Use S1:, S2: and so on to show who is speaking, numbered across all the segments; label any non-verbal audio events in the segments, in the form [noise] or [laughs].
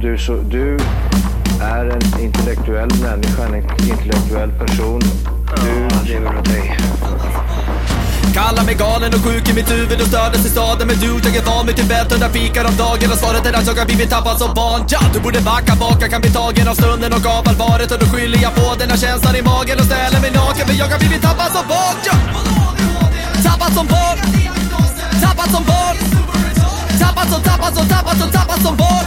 S1: du, så, du är en intellektuell människa, en intellektuell person. Du lever av dig.
S2: Kallar mig galen och sjuk i mitt huvud och stördes i staden Men du, jag är van vid Tibet och där fikar om dagen Och svaret är att jag har blivit tappad som barn ja, Du borde backa bak, jag kan bli tagen av stunden och av allvaret Och då skyller jag på den här känslan i magen och ställer mig naken För jag har blivit tappad som barn ja. Tappad som barn Tappad som barn Tappad som, tappad som, tappad som, tappad som barn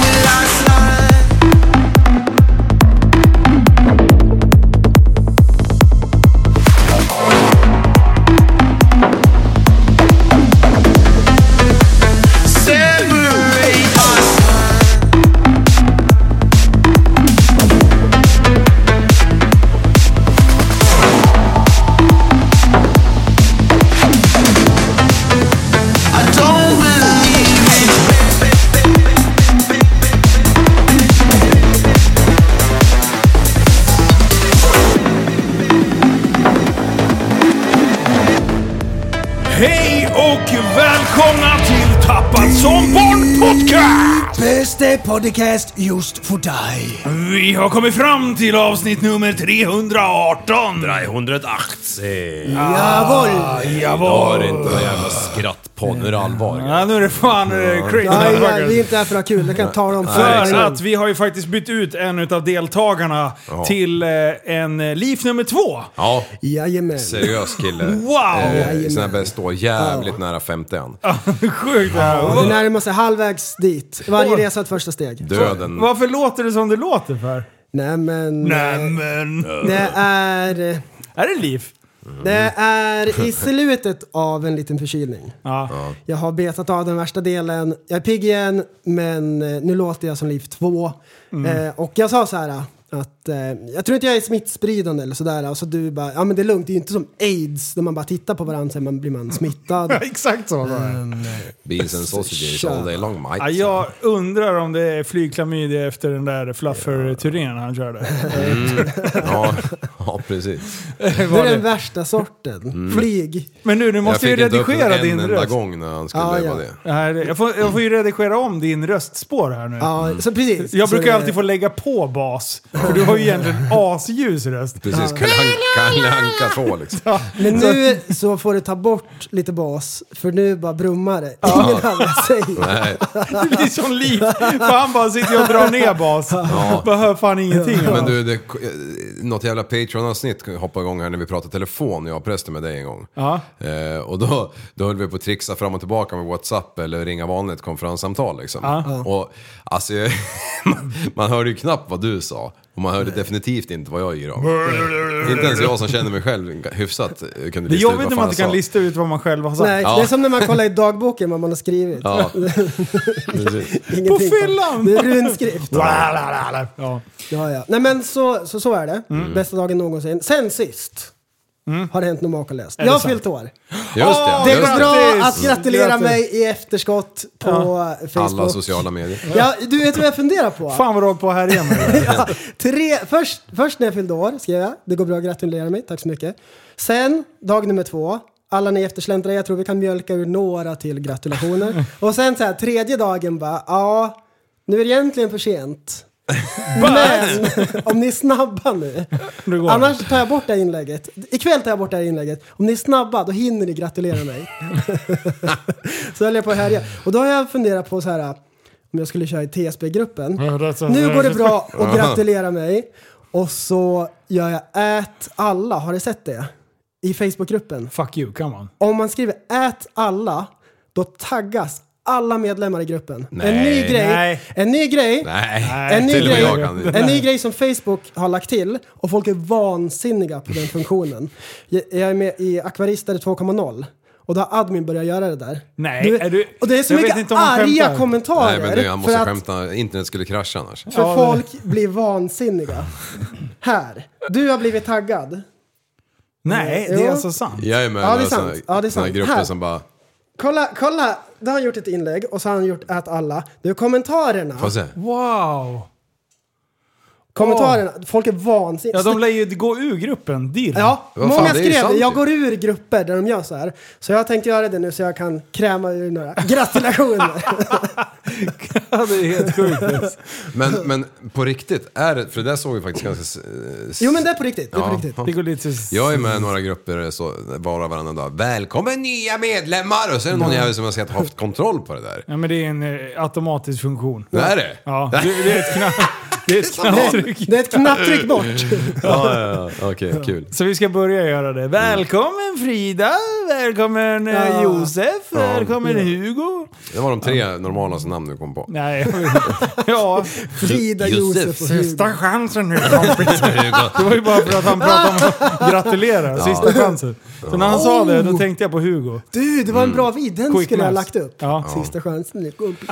S3: will I slide? Separate us. I don't believe it.
S4: Hej och välkomna till Tappad som barn podcast!
S5: Bästa podcast just för dig.
S4: Vi har kommit fram till avsnitt nummer 318.
S6: 180.
S5: Jawohl!
S6: Jag
S4: Ah, Jawohl.
S6: har inte några jävla skrattpodd, nu är det allvar.
S4: Ja, nu är det fan eh, crazy
S7: Nej, nej, vi är
S4: motherfuckers.
S7: inte här för att ha kul, det kan jag tala om
S4: För
S7: för
S4: att vi har ju faktiskt bytt ut en av deltagarna till eh, en eh, liv nummer två. [laughs]
S6: Ja,
S7: Jajamän.
S6: seriös kille.
S4: Wow!
S6: Eh, Sån här börjar stå jävligt nära 50 än.
S4: Sjukt!
S7: Det närmar sig halvvägs dit. Varje resa ett första steg.
S6: Döden.
S4: Varför låter det som det låter för?
S7: Nej men... eh,
S4: Nämen!
S7: Det är...
S4: Är det liv?
S7: Det är i slutet av en liten förkylning.
S4: Ja. [laughs]
S7: Jag har betat av den värsta delen. Jag är pigg igen, men eh, nu låter jag som liv två. Eh, och jag sa så här eh, att eh, jag tror inte jag är smittspridande eller sådär. Och så du bara, ja men det är lugnt, det är ju inte som aids där man bara tittar på varandra sen man blir man [laughs] smittad. eh,
S4: Exakt så var det.
S6: Beans and sausages
S7: Tja.
S6: all day long
S4: Ja,
S6: mate.
S4: jag undrar om det är flygklamydia efter den där fluffer-turnén han körde. [laughs]
S6: Ja, ja precis.
S7: Det är den värsta sorten. Flyg.
S4: Men nu, du måste ju
S6: jag fick inte upp den
S4: redigera
S6: en
S4: din
S6: enda
S4: röst.
S6: gång när han skulle
S7: Ja, ja.
S6: vara det.
S4: Det här- Jag får, jag får ju redigera om din röstspår här nu.
S7: Ja, så precis.
S4: Jag
S7: Så
S4: brukar
S7: det-
S4: alltid få lägga på bas, för du har ju egentligen asljus röst. [laughs]
S6: Precis, Kalle Anka- Kalle Anka 2 liksom.
S7: Men nu så får du ta bort lite bas, för nu bara brummar det. Ingen annan säger.
S6: Nej,
S4: Det blir som liv, för han bara sitter och drar ner bas. Bara hör fan ingenting.
S6: men du, det, eh, något jävla Patreon-avsnitt hoppade igång här när vi pratade telefon, jag och prästen med dig en gång.
S4: Ja.
S6: Eh, och då, då höll vi på att trixa fram och tillbaka med WhatsApp eller ringa vanligt konferenssamtal liksom. Och alltså, jag- [laughs] man, man hörde ju knappt vad du sa. Och man hörde definitivt inte vad jag yrade om. Inte ens jag som känner mig själv hyfsat eh,
S4: Det
S6: kunde
S4: är
S6: lista ut
S4: jobbigt
S6: vad
S4: när
S6: fan
S4: man
S6: jag
S4: inte kan
S6: sa.
S4: lista ut vad man själv har sagt.
S7: Nej,
S6: Ja.
S7: det är som när man kollar i dagboken vad man har skrivit. [laughs]
S6: Ja, precis.
S7: Ingenting.
S4: På fyllan!
S7: Det är runskrift.
S4: La, la, la, la. Ja.
S7: Ja, ja. Nej men så, så, så är det. Bästa dagen någonsin. Sen sist har det hänt något makalöst. Jag har
S4: sant?
S7: fyllt år.
S6: Just det.
S4: Åh,
S7: Det
S6: Just
S7: går
S4: grattis!
S6: det.
S7: bra att gratulera
S4: Grattis.
S7: mig i efterskott på Facebook.
S6: Alla sociala medier.
S7: Ja, du vet vad jag funderar på?
S4: Fan vad du har hållit på här [laughs] igen.
S7: [laughs] Ja, tre, först, först när jag fyllde år skrev jag det går bra, gratulera mig, tack så mycket. Sen, dag nummer två, alla ni eftersläntrare, jag tror vi kan mjölka ur några till gratulationer. Och sen så här, tredje dagen bara, ja, nu är det egentligen för sent. Men om ni är snabba nu,
S4: Det går.
S7: annars tar jag bort det här inlägget. Ikväll tar jag bort det här inlägget. Om ni är snabba, då hinner ni gratulera mig. så höll jag på här igen. Och då har jag funderat på så här, om jag skulle köra i TSB-gruppen. Nu går det bra och gratulera mig. Och så gör jag ät alla, har du sett det? I Facebookgruppen.
S4: Fuck you, come on.
S7: Om man skriver ät alla, då taggas alla medlemmar i gruppen. en ny
S6: Nej.
S7: grej,
S4: Nej.
S7: en ny grej,
S6: Nej.
S7: en, ny
S6: till och med
S7: grej
S6: jag kan det.
S7: en ny grej som Facebook har lagt till och folk är vansinniga på den funktionen. Jag jag är med i Akvarister 2.0. Och då har admin börjat göra det där.
S4: Nej,
S7: du,
S4: är du-
S7: och det är så
S4: jag vet
S7: mycket
S4: inte om han
S7: arga
S4: skämtar.
S7: kommentarer.
S6: Nej men du, han måste
S7: för att-
S6: skämta. Internet skulle krascha annars.
S7: för
S4: Ja, men-
S7: folk blir vansinniga. Här. Du har blivit taggad.
S4: Nej, det är
S7: Jo.
S4: alltså sant.
S6: Jag är med
S7: Ja, det är
S6: i några
S7: sant.
S6: såna-
S7: Ja, det är
S6: såna här
S7: sant.
S6: grupper
S7: Här.
S6: som bara...
S7: Kolla, kolla. Då har han gjort ett inlägg och så har han gjort att alla. Det är kommentarerna.
S6: Får jag se?
S4: Wow!
S7: Kommentarerna. Folk är vansinniga.
S4: Ja, de lär ju gå ur gruppen direkt.
S7: Ja,
S6: Vad fan,
S7: många
S6: det är ju
S7: skrev
S6: sant
S7: det. Jag
S6: ju.
S7: går ur grupper där de gör så här. Så jag tänkte göra det nu så jag kan kräma ur några
S6: [laughs]
S7: gratulationer.
S4: [laughs] Ja, det är helt sjukt.
S6: Men, men på riktigt, är det, för det där såg vi faktiskt ganska... eh,
S7: jo men det är på riktigt. Det är på
S6: Ja.
S7: riktigt.
S4: Det går lite...
S6: Jag är med i några grupper eh, så, bara varannan dag. Välkommen nya medlemmar! Och så är det någon jävel som jag sett har haft kontroll på det där.
S4: Ja, men det är en eh, automatisk funktion.
S6: Det är det?
S4: Ja, det, det är ett knapp... Det är ett [laughs] knapptryck.
S7: Det är ett knapptryck bort.
S6: [laughs] Ja, ja, ja. Okej, kul.
S4: Så vi ska börja göra det. Välkommen Frida, välkommen eh,
S7: Ja.
S4: Josef, välkommen Hugo.
S6: Det var de tre normalaste namn du kom på.
S4: Nej, [laughs] ja.
S7: [laughs] Frida,
S6: Josef.
S7: Josef och Hugo.
S4: chansen nu kompis. Det var ju bara för att han pratade om att gratulera, sista chansen. Så när han sa det, då tänkte jag på Hugo.
S7: Du, det var en bra vid. Den
S4: Quick
S7: skulle jag ha
S4: maths.
S7: lagt upp.
S4: Ja.
S7: Sista chansen nu. kompis.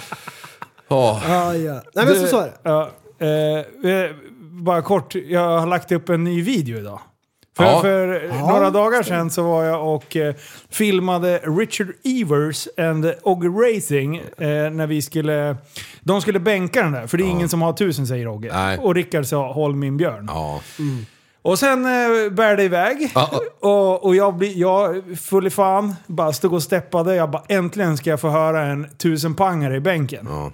S6: Åh,
S7: Ja, ja. Nej men så så är det.
S4: Ja, eh, eh, bara kort, jag har lagt upp en ny video idag. För,
S6: Ja.
S4: för några dagar sedan så var jag och eh, filmade Richard Evers and Ogge Racing eh, när vi skulle... De skulle bänka den där, för det är ingen som har tusen säger Ogge.
S6: Nej.
S4: Och Rickard sa “Håll min björn”.
S6: Ja.
S4: Och sen eh, bär det iväg.
S6: Ja.
S4: [laughs] Och, och jag, blir, jag full i fan, bara stod och steppade. Jag bara äntligen ska jag få höra en tusenpangare i bänken.
S6: Ja.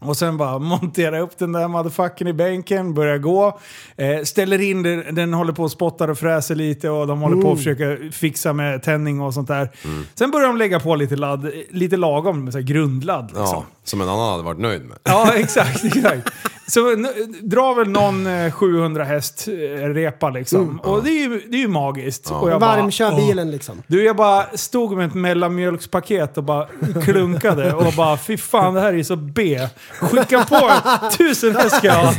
S4: Och sen bara montera upp den där motherfuckern i bänken, börjar gå. Eh, ställer in den, den håller på och spottar och fräser lite och de håller på
S6: Mm.
S4: att försöka fixa med tändning och sånt där. Sen börjar de lägga på lite ladd, lite lagom, så här grundladd liksom.
S6: ja. Som en annan hade varit nöjd med.
S4: [laughs] Ja, exakt. exakt. Så n- drar väl någon eh, 700 häst eh, repa liksom. och det är ju, det är ju magiskt. Och jag bara,
S7: Varm kör
S4: "Åh."
S7: bilen liksom.
S4: Du, jag bara stod med ett mellanmjölkspaket och bara klunkade och bara fy fan det här är ju så B. Skicka på en tusen häst ska jag ha.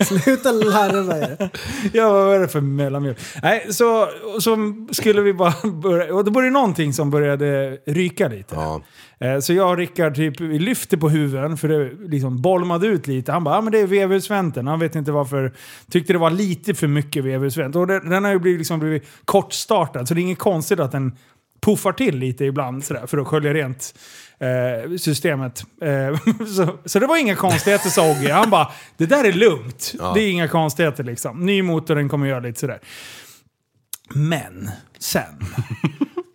S7: Sluta larva er.
S4: Jag bara, vad är det för mellanmjölk? Nej, så, och så skulle vi bara börja, och då började någonting som började ryka lite.
S6: Ja.
S4: Eh, Så jag och Rickard typ, vi lyfte på huven för det liksom bolmade ut lite. Han bara, ah, men det är vevhusvänten. Han vet inte varför. Tyckte det var lite för mycket vevhusvänt. Och den, den har ju blivit, liksom blivit kortstartad, så det är inget konstigt att den puffar till lite ibland sådär, för att skölja rent eh, systemet. Eh, [laughs] så, så det var inga konstigheter sa Ogge. Han bara, det där är lugnt. Det är inga konstigheter liksom. Ny motor, den kommer göra lite sådär. Men sen.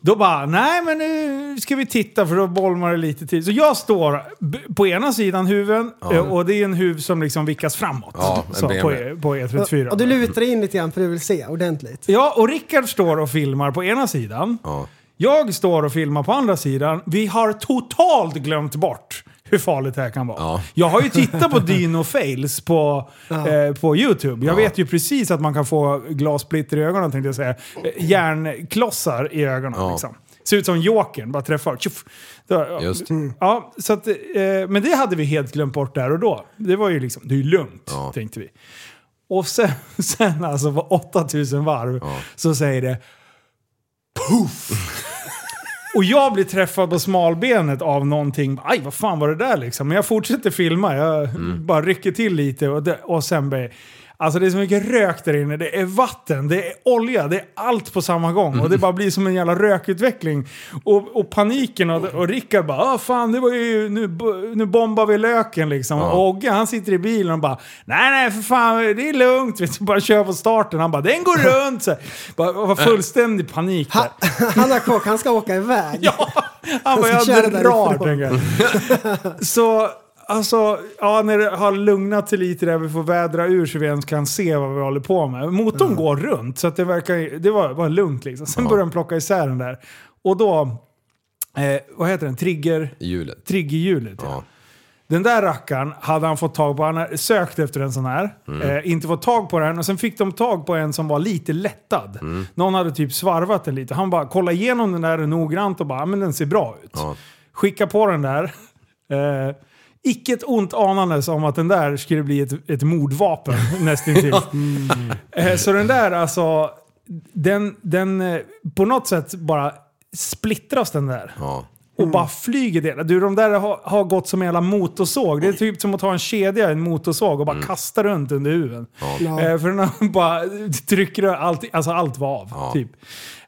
S4: Då bara, nej men nu ska vi titta för då bolmar det lite till. Så jag står b- på ena sidan huven eh, och det är en huv som liksom vickas framåt.
S6: Ja, en
S4: så, på,
S6: BMW.
S4: E- på E34.
S7: Och du lutar in lite grann för du vill se
S6: [laughs]
S7: ordentligt.
S4: Ja, och Rickard står och filmar på ena sidan.
S6: Ja.
S4: Jag står och filmar på andra sidan. Vi har totalt glömt bort hur farligt det här kan vara.
S6: Ja.
S4: Jag har ju tittat på Dino Fails på, eh, på YouTube. Jag vet ju precis att man kan få glassplitter i ögonen tänkte jag säga. Eh, Järnklossar i ögonen
S6: Ja.
S4: liksom. Ser ut som Jokern, bara träffar. Tjoff. Då- ja.
S6: Just.
S4: Ja, så att, eh, men det hade vi helt glömt bort där och då. Det var ju liksom, det är ju lugnt,
S6: Ja.
S4: tänkte vi. Och sen, [laughs] sen alltså på 8000 varv så säger det och jag blir träffad på smalbenet av någonting. Aj, vad fan var det där liksom? Men jag fortsätter filma. Jag bara rycker till lite och, det, och sen blir... Alltså det är så mycket rök där inne. Det är vatten, det är olja, det är allt på samma gång. Och det bara blir som en jävla rökutveckling. Och, och paniken och, och Rickard bara ah, fan det var ju, nu, bo- nu bombar vi löken liksom. Och Ogge han sitter i bilen och bara nej nej för fan det är lugnt. [laughs] Vet du, bara kör på starten. Han bara den går runt. Så, här. bara, var fullständig panik där.
S7: Ha, han har kock, han ska åka iväg.
S4: [laughs] Ja,
S7: [laughs]
S4: han bara,
S7: Jag
S4: jag
S7: ska köra
S4: drar
S7: därifrån.
S4: tänker jag. [laughs] Så, alltså, ja, när det har lugnat sig lite där vi får vädra ur så vi ens kan se vad vi håller på med. Motorn går runt, så att det verkar, ju- det var, var lugnt liksom. Sen började de plocka isär den där. Och då, eh, vad heter den, trigger...
S6: I hjulet.
S4: Triggerhjulet ja. Den där rackaren hade han fått tag på. Han har sökt efter en sån här. Eh, inte fått tag på den. Och sen fick de tag på en som var lite lättad. Någon hade typ svarvat den lite. Han bara kollade igenom den där noggrant och bara, "Ja, men den ser bra ut.
S6: Ja.
S4: Skicka på den där. [laughs] Eh, icke ett ont anandes om att den där skulle bli ett, ett mordvapen [laughs] nästintill. Eh, Så den där alltså, den, den eh, på något sätt bara splittras den där.
S6: Ja.
S4: och bara flyger det. Du, de där har, har gått som en jävla motorsåg. Det är typ som att ta en kedja i en motorsåg och
S6: Mm.
S4: bara kasta runt under huven. Eh, för den har [laughs] bara trycker du allt, alltså allt var av. Typ.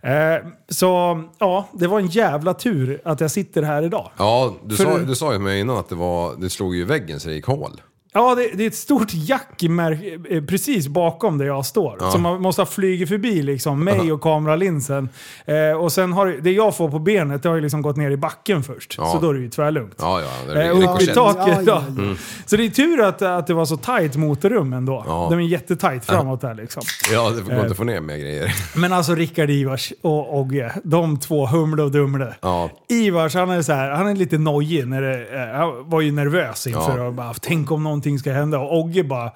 S4: Eh, så ja, det var en jävla tur att jag sitter här idag.
S6: Ja, du,
S4: För-
S6: sa, du sa ju till mig innan att det, var, det slog ju väggen så det gick hål.
S4: Ja, det, det är ett stort jack i märk- eh, precis bakom där jag står. Som man måste ha flugit förbi liksom, mig och kameralinsen. Eh, och sen har det- det jag får på benet, det har ju liksom gått ner i backen först.
S6: Ja.
S4: Så då är det ju tvärlugnt.
S6: Ja, ja. Det
S4: Eh,
S6: är
S4: upp i
S6: rikoschett.
S4: taket.
S7: Ja,
S4: Ja,
S7: ja, ja.
S6: Mm.
S4: Så det är tur att, att det var så tajt motorrum ändå.
S6: Ja.
S4: De är jättetajt framåt där liksom.
S6: Ja, det går inte att få ner mer grejer. [laughs]
S4: Men alltså Rickard Ivars och Ogge, de två Humle och Dumle.
S6: Ja.
S4: Ivars han är, så här, han är lite nojig, när det, eh, han var ju nervös inför
S6: Ja.
S4: och bara, tänk om någonting ska hända. Och Ogge bara,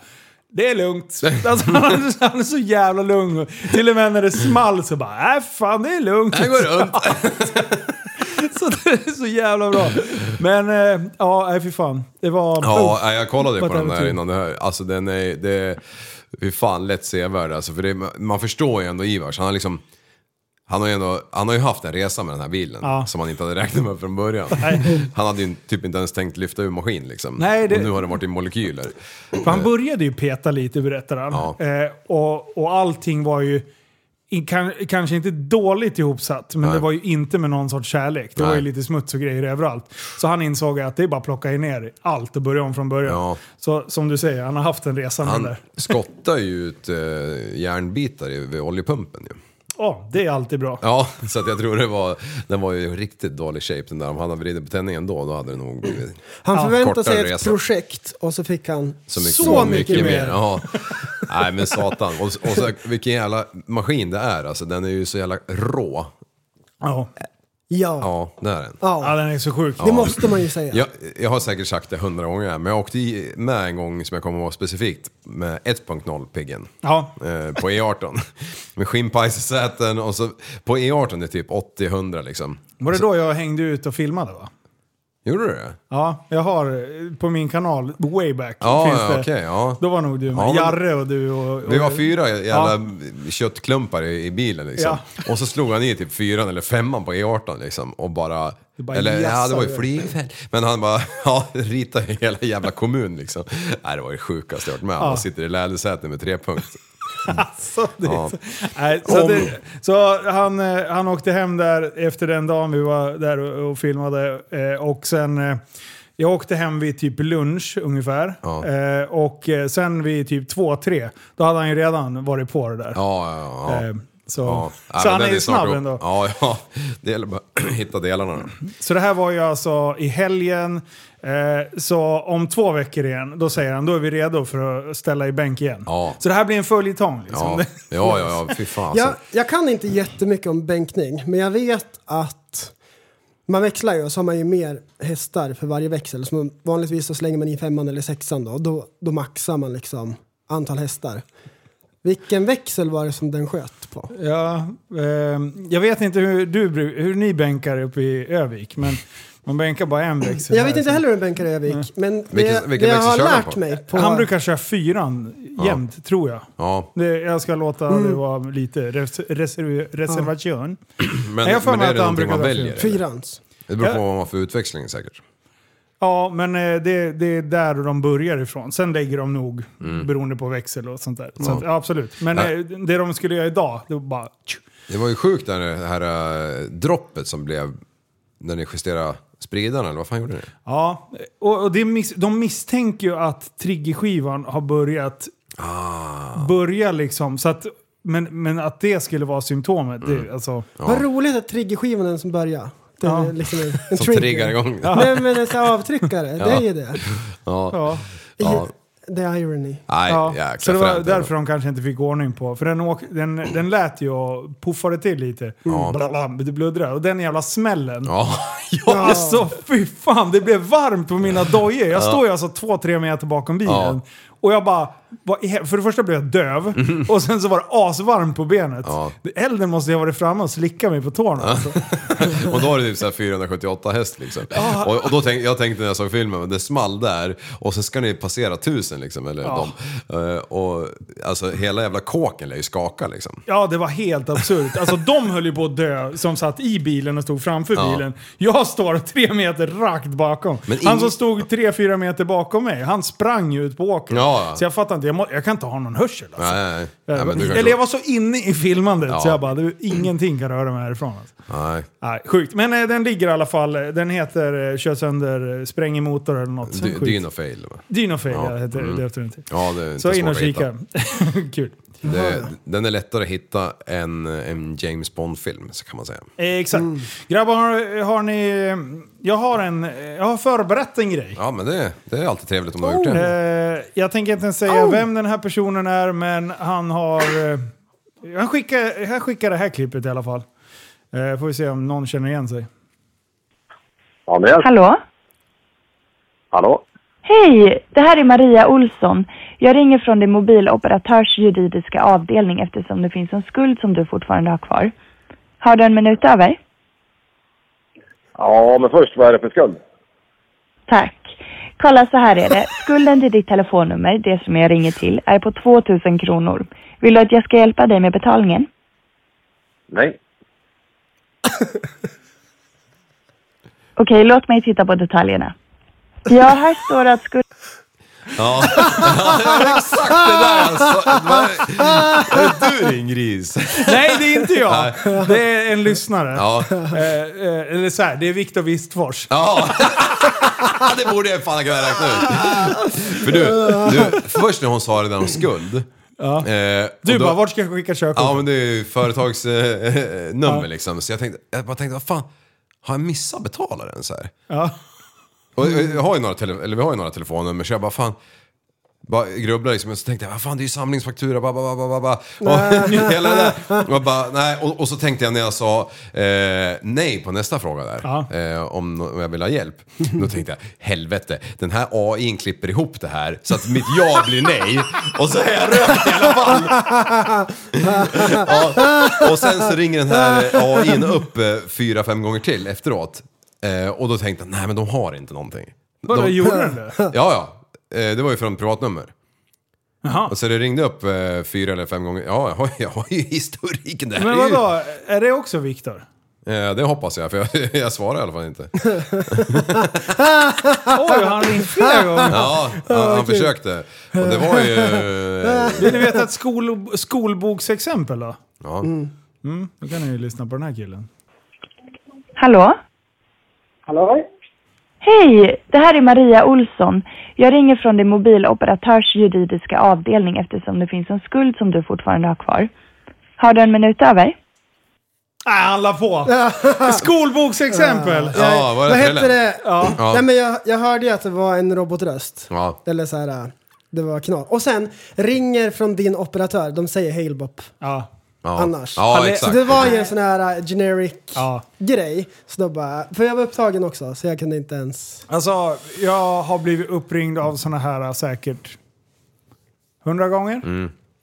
S4: det är
S6: [laughs]
S4: lugnt. Alltså, han, är, han är så jävla lugn. Till och med när det small så bara, äh fan det är lugnt.
S6: Det går runt.
S4: [laughs] Så det är så jävla bra. Men eh, ja, nej fy fan. Det var...
S6: Ja, nej, jag kollade
S4: Oh, Vad
S6: på den
S4: det
S6: där
S4: betyder.
S6: innan det här. Alltså den är... Det, fy fan lätt sevärd alltså. För det, man förstår ju ändå Ivars. Han har liksom... Han har, ju ändå, han har ju haft en resa med den här bilen
S4: Ja.
S6: som han inte hade räknat med
S4: [laughs]
S6: från början. Han hade ju typ inte ens tänkt lyfta ur maskin liksom.
S4: Nej, det-
S6: Och nu har den varit i molekyler.
S4: För han började ju peta lite berättar han.
S6: Ja.
S4: Eh, och, och allting var ju i- kan, kanske inte dåligt ihopsatt, men det var ju inte med någon sorts kärlek. Det var ju
S6: Nej.
S4: lite smuts och grejer överallt. Så han insåg att det är bara att plocka ner allt och börja om från början.
S6: Ja.
S4: Så som du säger, han har haft en resa han... [laughs]
S6: Han
S4: där.
S6: skottar ju ut eh, järnbitar i- vid oljepumpen ju.
S4: Ja, det är alltid bra.
S6: Ja, [laughs] så att jag tror det var... Den var ju i riktigt dålig shape den där. Om han hade vridit på tändningen då, då hade det nog blivit...
S7: Han förväntade sig ett
S6: kortare resa.
S7: projekt och så fick han
S6: Så mycket, så mycket, mer. [laughs] Ja. Nej men satan. Och, och så, vilken jävla maskin det är alltså. Den är ju så jävla rå.
S4: Ja.
S7: Ja.
S6: Ja, det är den.
S4: ja,
S7: ja.
S4: den är så sjuk.
S7: Det måste man ju säga.
S6: Jag, jag har säkert sagt det hundra gånger här, men jag åkte i- med en gång som jag kommer ihåg specifikt med 1.0 Piggen.
S4: Ja.
S6: Eh, på E18. [laughs] med skinnpajs i säten och så på E18 är det typ 80-100 liksom.
S4: Var det då jag hängde ut och filmade va?
S6: Gjorde du det?
S4: Ja, jag har eh, på min kanal, way back,
S6: Ja,
S4: finns
S6: ja,
S4: det.
S6: okej, ja.
S4: Då var nog du med.
S6: Ja, men-
S4: Jarre och du och... och
S6: Vi var fyra jävla köttklumpar i, i bilen liksom. Och så slog han i typ fyran eller femman på E18 liksom och bara...
S4: bara
S6: eller ja, det var ju
S4: jassade.
S6: flygfält. Men han bara, [laughs] ja, ritade ju hela jävla kommun liksom. Nej, det var ju sjukaste jag varit med om. Man sitter i lädersätet med trepunkt.
S4: [laughs] Så, Alltså, det,
S6: Ja.
S4: nej, så,
S6: Om-
S4: det, så han, eh, han åkte hem där efter den dagen vi var där och, och filmade. Eh, och sen, eh, jag åkte hem vid typ lunch ungefär.
S6: Ja.
S4: Eh, och eh, sen vid typ två, tre, då hade han ju redan varit på det där.
S6: Ja, ja, ja.
S4: Eh, så
S6: Ja. Nej,
S4: så
S6: men
S4: han
S6: den
S4: är ju
S6: snart
S4: snabb
S6: upp.
S4: ändå.
S6: Ja, ja. Det gäller bara att [clears throat] hitta delarna.
S4: [clears throat]
S6: då.
S4: Så det här var ju alltså i helgen. Eh, så om två veckor igen, då säger han då är vi redo för att ställa i bänk igen.
S6: Ja.
S4: Så det här blir en följetong. Liksom.
S6: Ja, ja, ja, ja. fy fan. Alltså.
S7: Jag, jag kan inte jättemycket om bänkning, men jag vet att man växlar ju och så har man ju mer hästar för varje växel. Så man, vanligtvis så slänger man i femman eller sexan då, då, då maxar man liksom antal hästar. Vilken växel var det som den sköt på?
S4: Ja, eh, jag vet inte hur, du, bru- hur ni bänkar uppe i Övik, men man bänkar bara en växel. här.
S7: Jag
S4: Mm.
S7: vet inte heller hur en bänkare är Vik, men det,
S6: Vilken- vilken
S7: det jag
S6: växel
S7: har
S6: kör han
S7: lärt
S6: på?
S7: mig på...
S4: Han brukar köra fyran jämt, tror jag.
S6: Ja,
S4: Det, jag ska låta det
S7: Mm.
S4: vara lite res, reserv, reservation.
S6: men,
S4: Nej, jag får
S6: men
S4: mig
S6: är
S4: att
S6: det
S4: han
S6: någonting man
S4: brukar dra
S6: väljer? eller?
S7: Fyrans.
S6: Det beror på vad man har för utväxling säkert.
S4: Ja, men eh, det, det är där de börjar ifrån. Sen lägger de nog beroende på växel och sånt där. Så att, ja, absolut. Men
S6: Mm. Nej.
S4: eh, det de skulle göra idag, det var bara...
S6: Det var ju sjukt där, det här eh, droppet som blev när ni justerade spridarna, eller vad fan gjorde ni?
S4: Ja, och, och det mis, de misstänker ju att triggerskivan har börjat
S6: Ah.
S4: börja liksom. Så att, men, men att det skulle vara symptomet,
S6: Mm.
S4: det, alltså,
S7: Vad roligt att triggerskivan är den som börjar. Det är
S4: Ja.
S7: liksom en, en
S6: Som
S7: trigger.
S6: triggar igång det.
S7: Nej men en sån här avtryckare, det är ju det.
S6: Ja.
S4: ja.
S6: Ja.
S7: The irony.
S6: Nej,
S4: ja.
S6: jäkla
S4: Så det var
S6: fränt.
S4: därför de kanske inte fick ordning på. För den, åk, den, den lät ju och puffade till lite. Bla, bla, det bluddrade. Och den jävla smällen.
S6: Ja, [laughs]
S4: Ja. [laughs] Alltså fy fan, det blev varmt på mina dojor. Jag står ju alltså två, tre meter bakom bilen.
S6: Ja.
S4: Och jag bara, vad i hel- för det första blev jag döv
S6: [laughs]
S4: och sen så var det asvarmt på benet.
S6: Ja.
S4: Elden måste ju ha varit framme och slickat mig på tårna. Alltså.
S6: och då har det typ så här 478 häst liksom. Och, och då tänk, jag tänkte när jag såg filmen, men det small där och sen ska ni passera 1000 liksom. Eller de. Eh, och alltså hela jävla kåken lär ju skaka liksom.
S4: Ja, det var helt absurt. Alltså de höll ju på att dö som satt i bilen och stod framför
S6: Ja.
S4: bilen. Jag står tre meter rakt bakom.
S6: Men
S4: Han
S6: ing-
S4: som stod tre, fyra meter bakom mig, han sprang ju ut på åkern.
S6: Ja.
S4: Så jag fattar inte, jag, må, jag kan inte ha någon hörsel alltså.
S6: Nej, nej, nej. Nej, men du
S4: Eller jag
S6: kanske...
S4: var så inne i filmandet
S6: Ja.
S4: så jag bara, du, ingenting kan röra mig härifrån. Alltså.
S6: Nej.
S4: Nej, sjukt. Men eh, den ligger i alla fall, eh, den heter eh, Kör sönder, eh, spräng i motor eller något.
S6: Dy-
S4: Sjukt.
S6: Dynofail. va?
S4: Dynofail
S6: Ja.
S4: ja. heter
S6: Mm.
S4: det definitivt.
S6: Ja, det är inte
S4: Så in
S6: svårt
S4: och
S6: att hitta.
S4: kika. [laughs] Kul.
S6: Det, den är lättare att hitta än en James Bond-film, så kan man säga.
S4: Eh, exakt. Grabbar, har, eh, har ni... Jag har, en, eh, jag har förberett en grej.
S6: Ja, men det, det är alltid trevligt om man har gjort det.
S4: Eh, jag tänker inte ens säga vem den här personen är, men han har... Eh, han, skickar, han skickar det här klippet i alla fall. Eh, får vi se om någon känner igen sig.
S8: Hallå? Hallå? Hej! Det här är Maria Olsson. Jag ringer från din mobiloperatörs juridiska avdelning eftersom det finns en skuld som du fortfarande har kvar. Har du en minut över?
S9: Ja, men först, vad är det för skuld?
S8: Tack. Kolla så här är det. Skulden till ditt telefonnummer, det som jag ringer till, är på 2000 kronor. Vill du att jag ska hjälpa dig med betalningen?
S9: Nej.
S8: Okej, låt mig titta på detaljerna. Ja, här står att skulden...
S6: Ja, [laughs] Ja, exakt det där alltså. Vad- Är det du din gris?
S4: Nej, det är inte jag! Det är en lyssnare.
S6: Ja.
S4: Eh, eh, eller så här, det är Viktor Wistfors.
S6: Ja. [laughs] Det borde jag fan kunna räkna ut. För du, du först när hon sa det där om skuld. eh, och
S4: Du
S6: då-
S4: bara, vart ska jag skicka körkort?
S6: Ja men det är ju företagsnummer eh, nummer liksom. Så jag tänkte, jag bara tänkte, vad fan, har jag missat betala den så här?
S4: Ja.
S6: Och jag jag har ju några, tele- eller vi har ju några telefonnummer så jag bara fan, bara grubblar liksom. Och så tänkte jag, vad fan det är ju samlingsfaktura, ba, ba, ba, ba, ba, ba. Och [laughs] hela det där. Och, bara, nej. Och, och så tänkte jag när jag sa eh, nej på nästa fråga där,
S4: Ja.
S6: eh, om, no- om jag vill ha hjälp.
S4: [laughs]
S6: Då tänkte jag, helvete, den här AI klipper ihop det här så att mitt ja blir nej. Och så är jag rökt i alla fall. Ja, och sen så ringer den här AIn upp eh, fyra, fem gånger till efteråt. Eh, och då tänkte jag, nej men de har inte någonting.
S4: Vadå,
S6: de,
S4: gjorde den det?
S6: Ja, ja. Eh, Det var ju från privatnummer.
S4: Jaha.
S6: Och så det ringde upp eh, fyra eller fem gånger. Ja, jag har, jag har ju historiken där.
S4: Men
S6: Det är ju-
S4: vadå, är det också Viktor?
S6: Eh, det hoppas jag, för jag, [laughs] jag svarar i alla
S4: [laughs]
S6: fall inte.
S4: Oj, har han ringt flera gånger?
S6: Ja, han, han försökte. Och det var ju...
S4: [laughs]
S6: eh,
S4: Vill ni veta ett skol, skolboksexempel då?
S6: Ja.
S4: Mm. Då kan ni ju lyssna på den här killen.
S8: Hallå?
S9: Hallå?
S8: Hej! Det här är Maria Olsson. Jag ringer från din mobiloperatörs juridiska avdelning eftersom det finns en skuld som du fortfarande har kvar. Har du en minut över?
S4: Nej, han la på! Skolboksexempel!
S6: Ja, var det
S7: Vad
S6: Trelle?
S7: hette det?
S6: Ja.
S7: Eh, Nej, men jag, jag hörde ju att det var en robotröst.
S6: Ja.
S7: Eller så här, eh, det var knas. Och sen ringer från din operatör, de säger Hailbop
S4: Ja.
S6: Ja.
S7: annars.
S6: Ja,
S4: Alltså, det-
S6: exakt.
S7: Så det var ju en sån här uh, generic
S4: Ja.
S7: grej. Så då bara, för jag var upptagen också så jag kunde inte ens...
S4: Alltså, jag har blivit uppringd av såna här äh, säkert hundra gånger.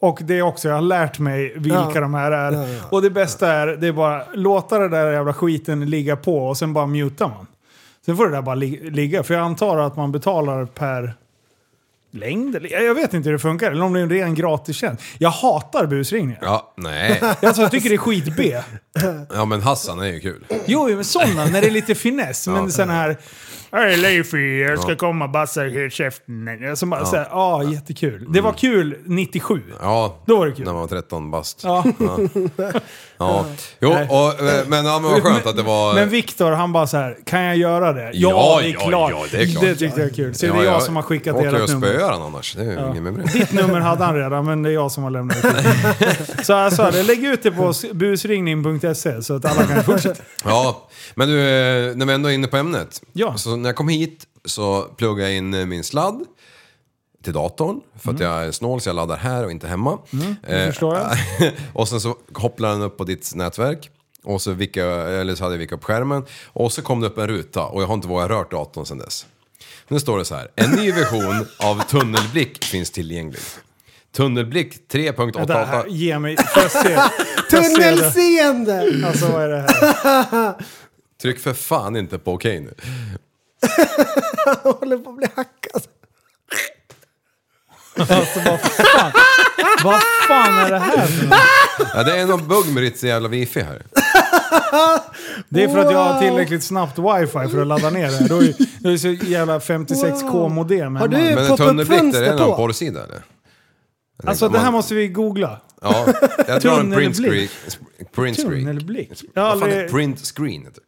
S4: Och det är också, jag har lärt mig vilka
S7: Mm. Ja.
S4: de här är.
S7: Ja, ja.
S4: Och det bästa är, det är bara låta det där jävla skiten ligga på och sen bara mutar man. Sen får det där bara li- ligga, för jag antar att man betalar per längd. eller- Jag vet inte hur det funkar, eller om det är en ren gratistjänst. Jag hatar busringningar.
S6: Ja, nej.
S4: Alltså, jag tycker det är skit-B.
S6: Ja men Hassan är ju kul.
S4: [laughs] Jo, jo, men sådana när det är lite finess. Men
S6: Ja.
S4: sen här... Hej Leify, jag ska komma och bassa i käften. Som bara ja. såhär, ja jättekul. Det var kul 97.
S6: Mm. Ja,
S4: Då var det kul.
S6: när man var 13 bast.
S4: Ja. [laughs]
S6: Ja. Jo,
S4: Nej.
S6: och, eh, men, ja, men vad skönt att det var...
S4: Men Viktor, han bara så här, kan jag göra det?
S6: Ja,
S4: det är
S6: ja,
S4: klart.
S6: ja, det är klart.
S4: Det tyckte jag är kul. Så det är jag som har skickat
S6: åker
S4: ert
S6: och
S4: nummer.
S6: spöar han annars. Det är ju ingen med det.
S4: Ditt nummer hade han redan, men det är jag som har lämnat ut
S6: [laughs]
S4: det. Så jag sa det, lägg ut det på busringning.se så att alla kan
S6: [laughs]
S4: fortsätta.
S6: Ja, men du, eh, när vi ändå är inne på ämnet.
S4: Ja.
S6: Så när jag kom hit så pluggade jag in eh, min sladd till datorn. För att
S4: Mm.
S6: jag är snål så jag laddar här och inte hemma. Eh, [laughs]
S4: förstår jag.
S6: och sen så hopplar den upp på ditt nätverk. Och så, vicka, eller så hade jag vickat upp skärmen. Och så kom det upp en ruta och jag har inte vågat rört datorn sedan dess. Nu står det så här. En
S4: [laughs]
S6: ny version av Tunnelblick finns tillgänglig. Tunnelblick 3.88.
S4: Vänta, här,
S6: [laughs]
S4: Ge mig, får jag se? Får jag se det?
S7: Tunnelseende!
S4: Alltså vad är det här?
S6: Tryck för fan inte på okej nu.
S7: [laughs] Jag håller på att bli hackad.
S4: Alltså vad fan. vad fan är det här för något?
S6: Ja, det är någon bugg med ditt jävla wifi här.
S4: Det är för att jag har
S7: Wow.
S4: tillräckligt snabbt wifi för att ladda ner det här. Då är då är det så jävla 56k-modem.
S7: Har du
S4: hemma.
S6: Men en tunnelblick, där är det någon porrsida eller?
S4: Alltså det här måste vi googla.
S6: Ja, jag drar en print screen.
S4: Tunnelblick.
S6: Print screen.
S4: Tunnelblick. Jag har
S6: Vad fan är
S4: aldrig...
S6: print screen? heter det?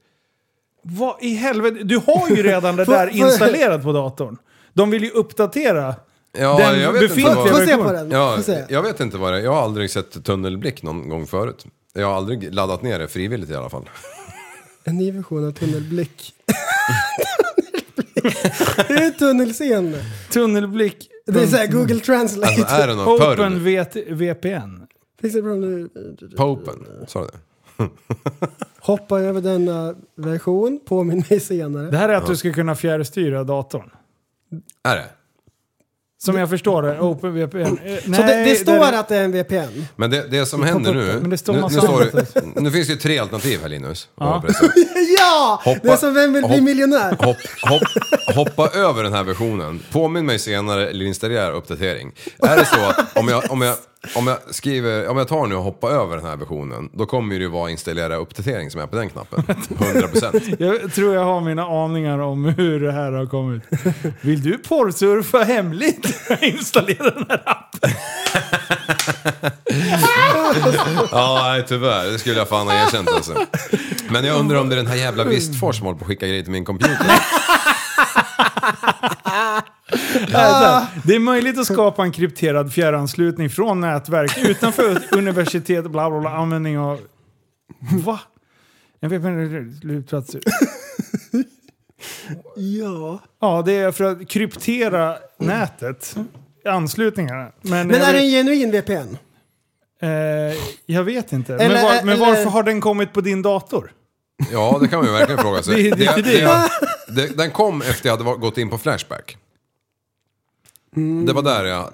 S4: Vad i helvete? Du har ju redan
S7: [laughs]
S4: det där
S7: Får- får-
S4: installerat på datorn. De vill ju uppdatera.
S6: Ja,
S4: Den
S6: jag vet
S4: befintliga
S6: inte vad...
S7: Få se på den.
S6: Ja,
S7: Få se.
S6: jag vet inte vad det är. Jag har aldrig sett tunnelblick någon gång förut. Jag har aldrig laddat ner det frivilligt i
S4: [laughs]
S6: alla fall.
S7: En ny version av tunnelblick. [laughs] tunnelblick. Det är tunnelseende.
S4: Tunnelblick.
S7: Det är såhär Google Translate.
S6: Alltså är det någon
S4: Open
S6: porr?
S4: VT VPN.
S7: Finns det bra nu?
S6: Popen? Sa du det?
S7: Hoppa över denna version, påminn mig senare.
S4: Det här är att du ska kunna fjärrstyra datorn.
S6: Är det?
S4: Som jag förstår det, OpenVPN. Eh,
S7: Så det, det
S4: nej,
S7: står
S4: där-
S7: att det är
S4: [laughs]
S7: en VPN.
S6: Men det, det som händer nu...
S4: Men det står
S6: nu, nu,
S4: massa [laughs]
S6: står, nu finns det ju tre alternativ här Linus. Ja.
S7: ja! Det är
S6: Hoppa-
S7: som Vem vill bli
S6: hopp-
S7: miljonär?
S6: Hopp, hopp, hoppa över den här versionen. Påminn mig senare eller installera uppdatering. Är det så att om jag, om jag, om jag, skriver, om jag tar nu och hoppar över den här versionen, då kommer det ju vara installera uppdatering som är på den knappen. 100%.
S4: Jag tror jag har mina aningar om hur det här har kommit. Vill du porrsurfa hemligt? [laughs] Installera den här appen.
S6: Ja, nej, tyvärr. Det skulle jag fan ha erkänt alltså. Men jag undrar om det är den här jävla Wistfors som håller på att skicka grejer till min computer.
S4: Det är möjligt att skapa en krypterad fjärranslutning från nätverk [laughs] utanför universitet, bla bla bla, användning av... Va? Jag vet inte, lutplatser.
S7: Ja.
S4: Ja, det är för att kryptera nätet. Anslutningarna. Men,
S7: Men
S4: jag
S7: är det
S4: vet-
S7: en genuin VPN?
S4: Eh, jag vet inte.
S7: Eller-
S4: men, var, men
S7: eller-
S4: varför har den kommit på din dator?
S6: Ja, det kan man ju verkligen fråga sig.
S4: [laughs] Det- det- det-
S6: det- den kom efter jag hade var- gått in på Flashback.
S4: Mm.
S6: Det var där jag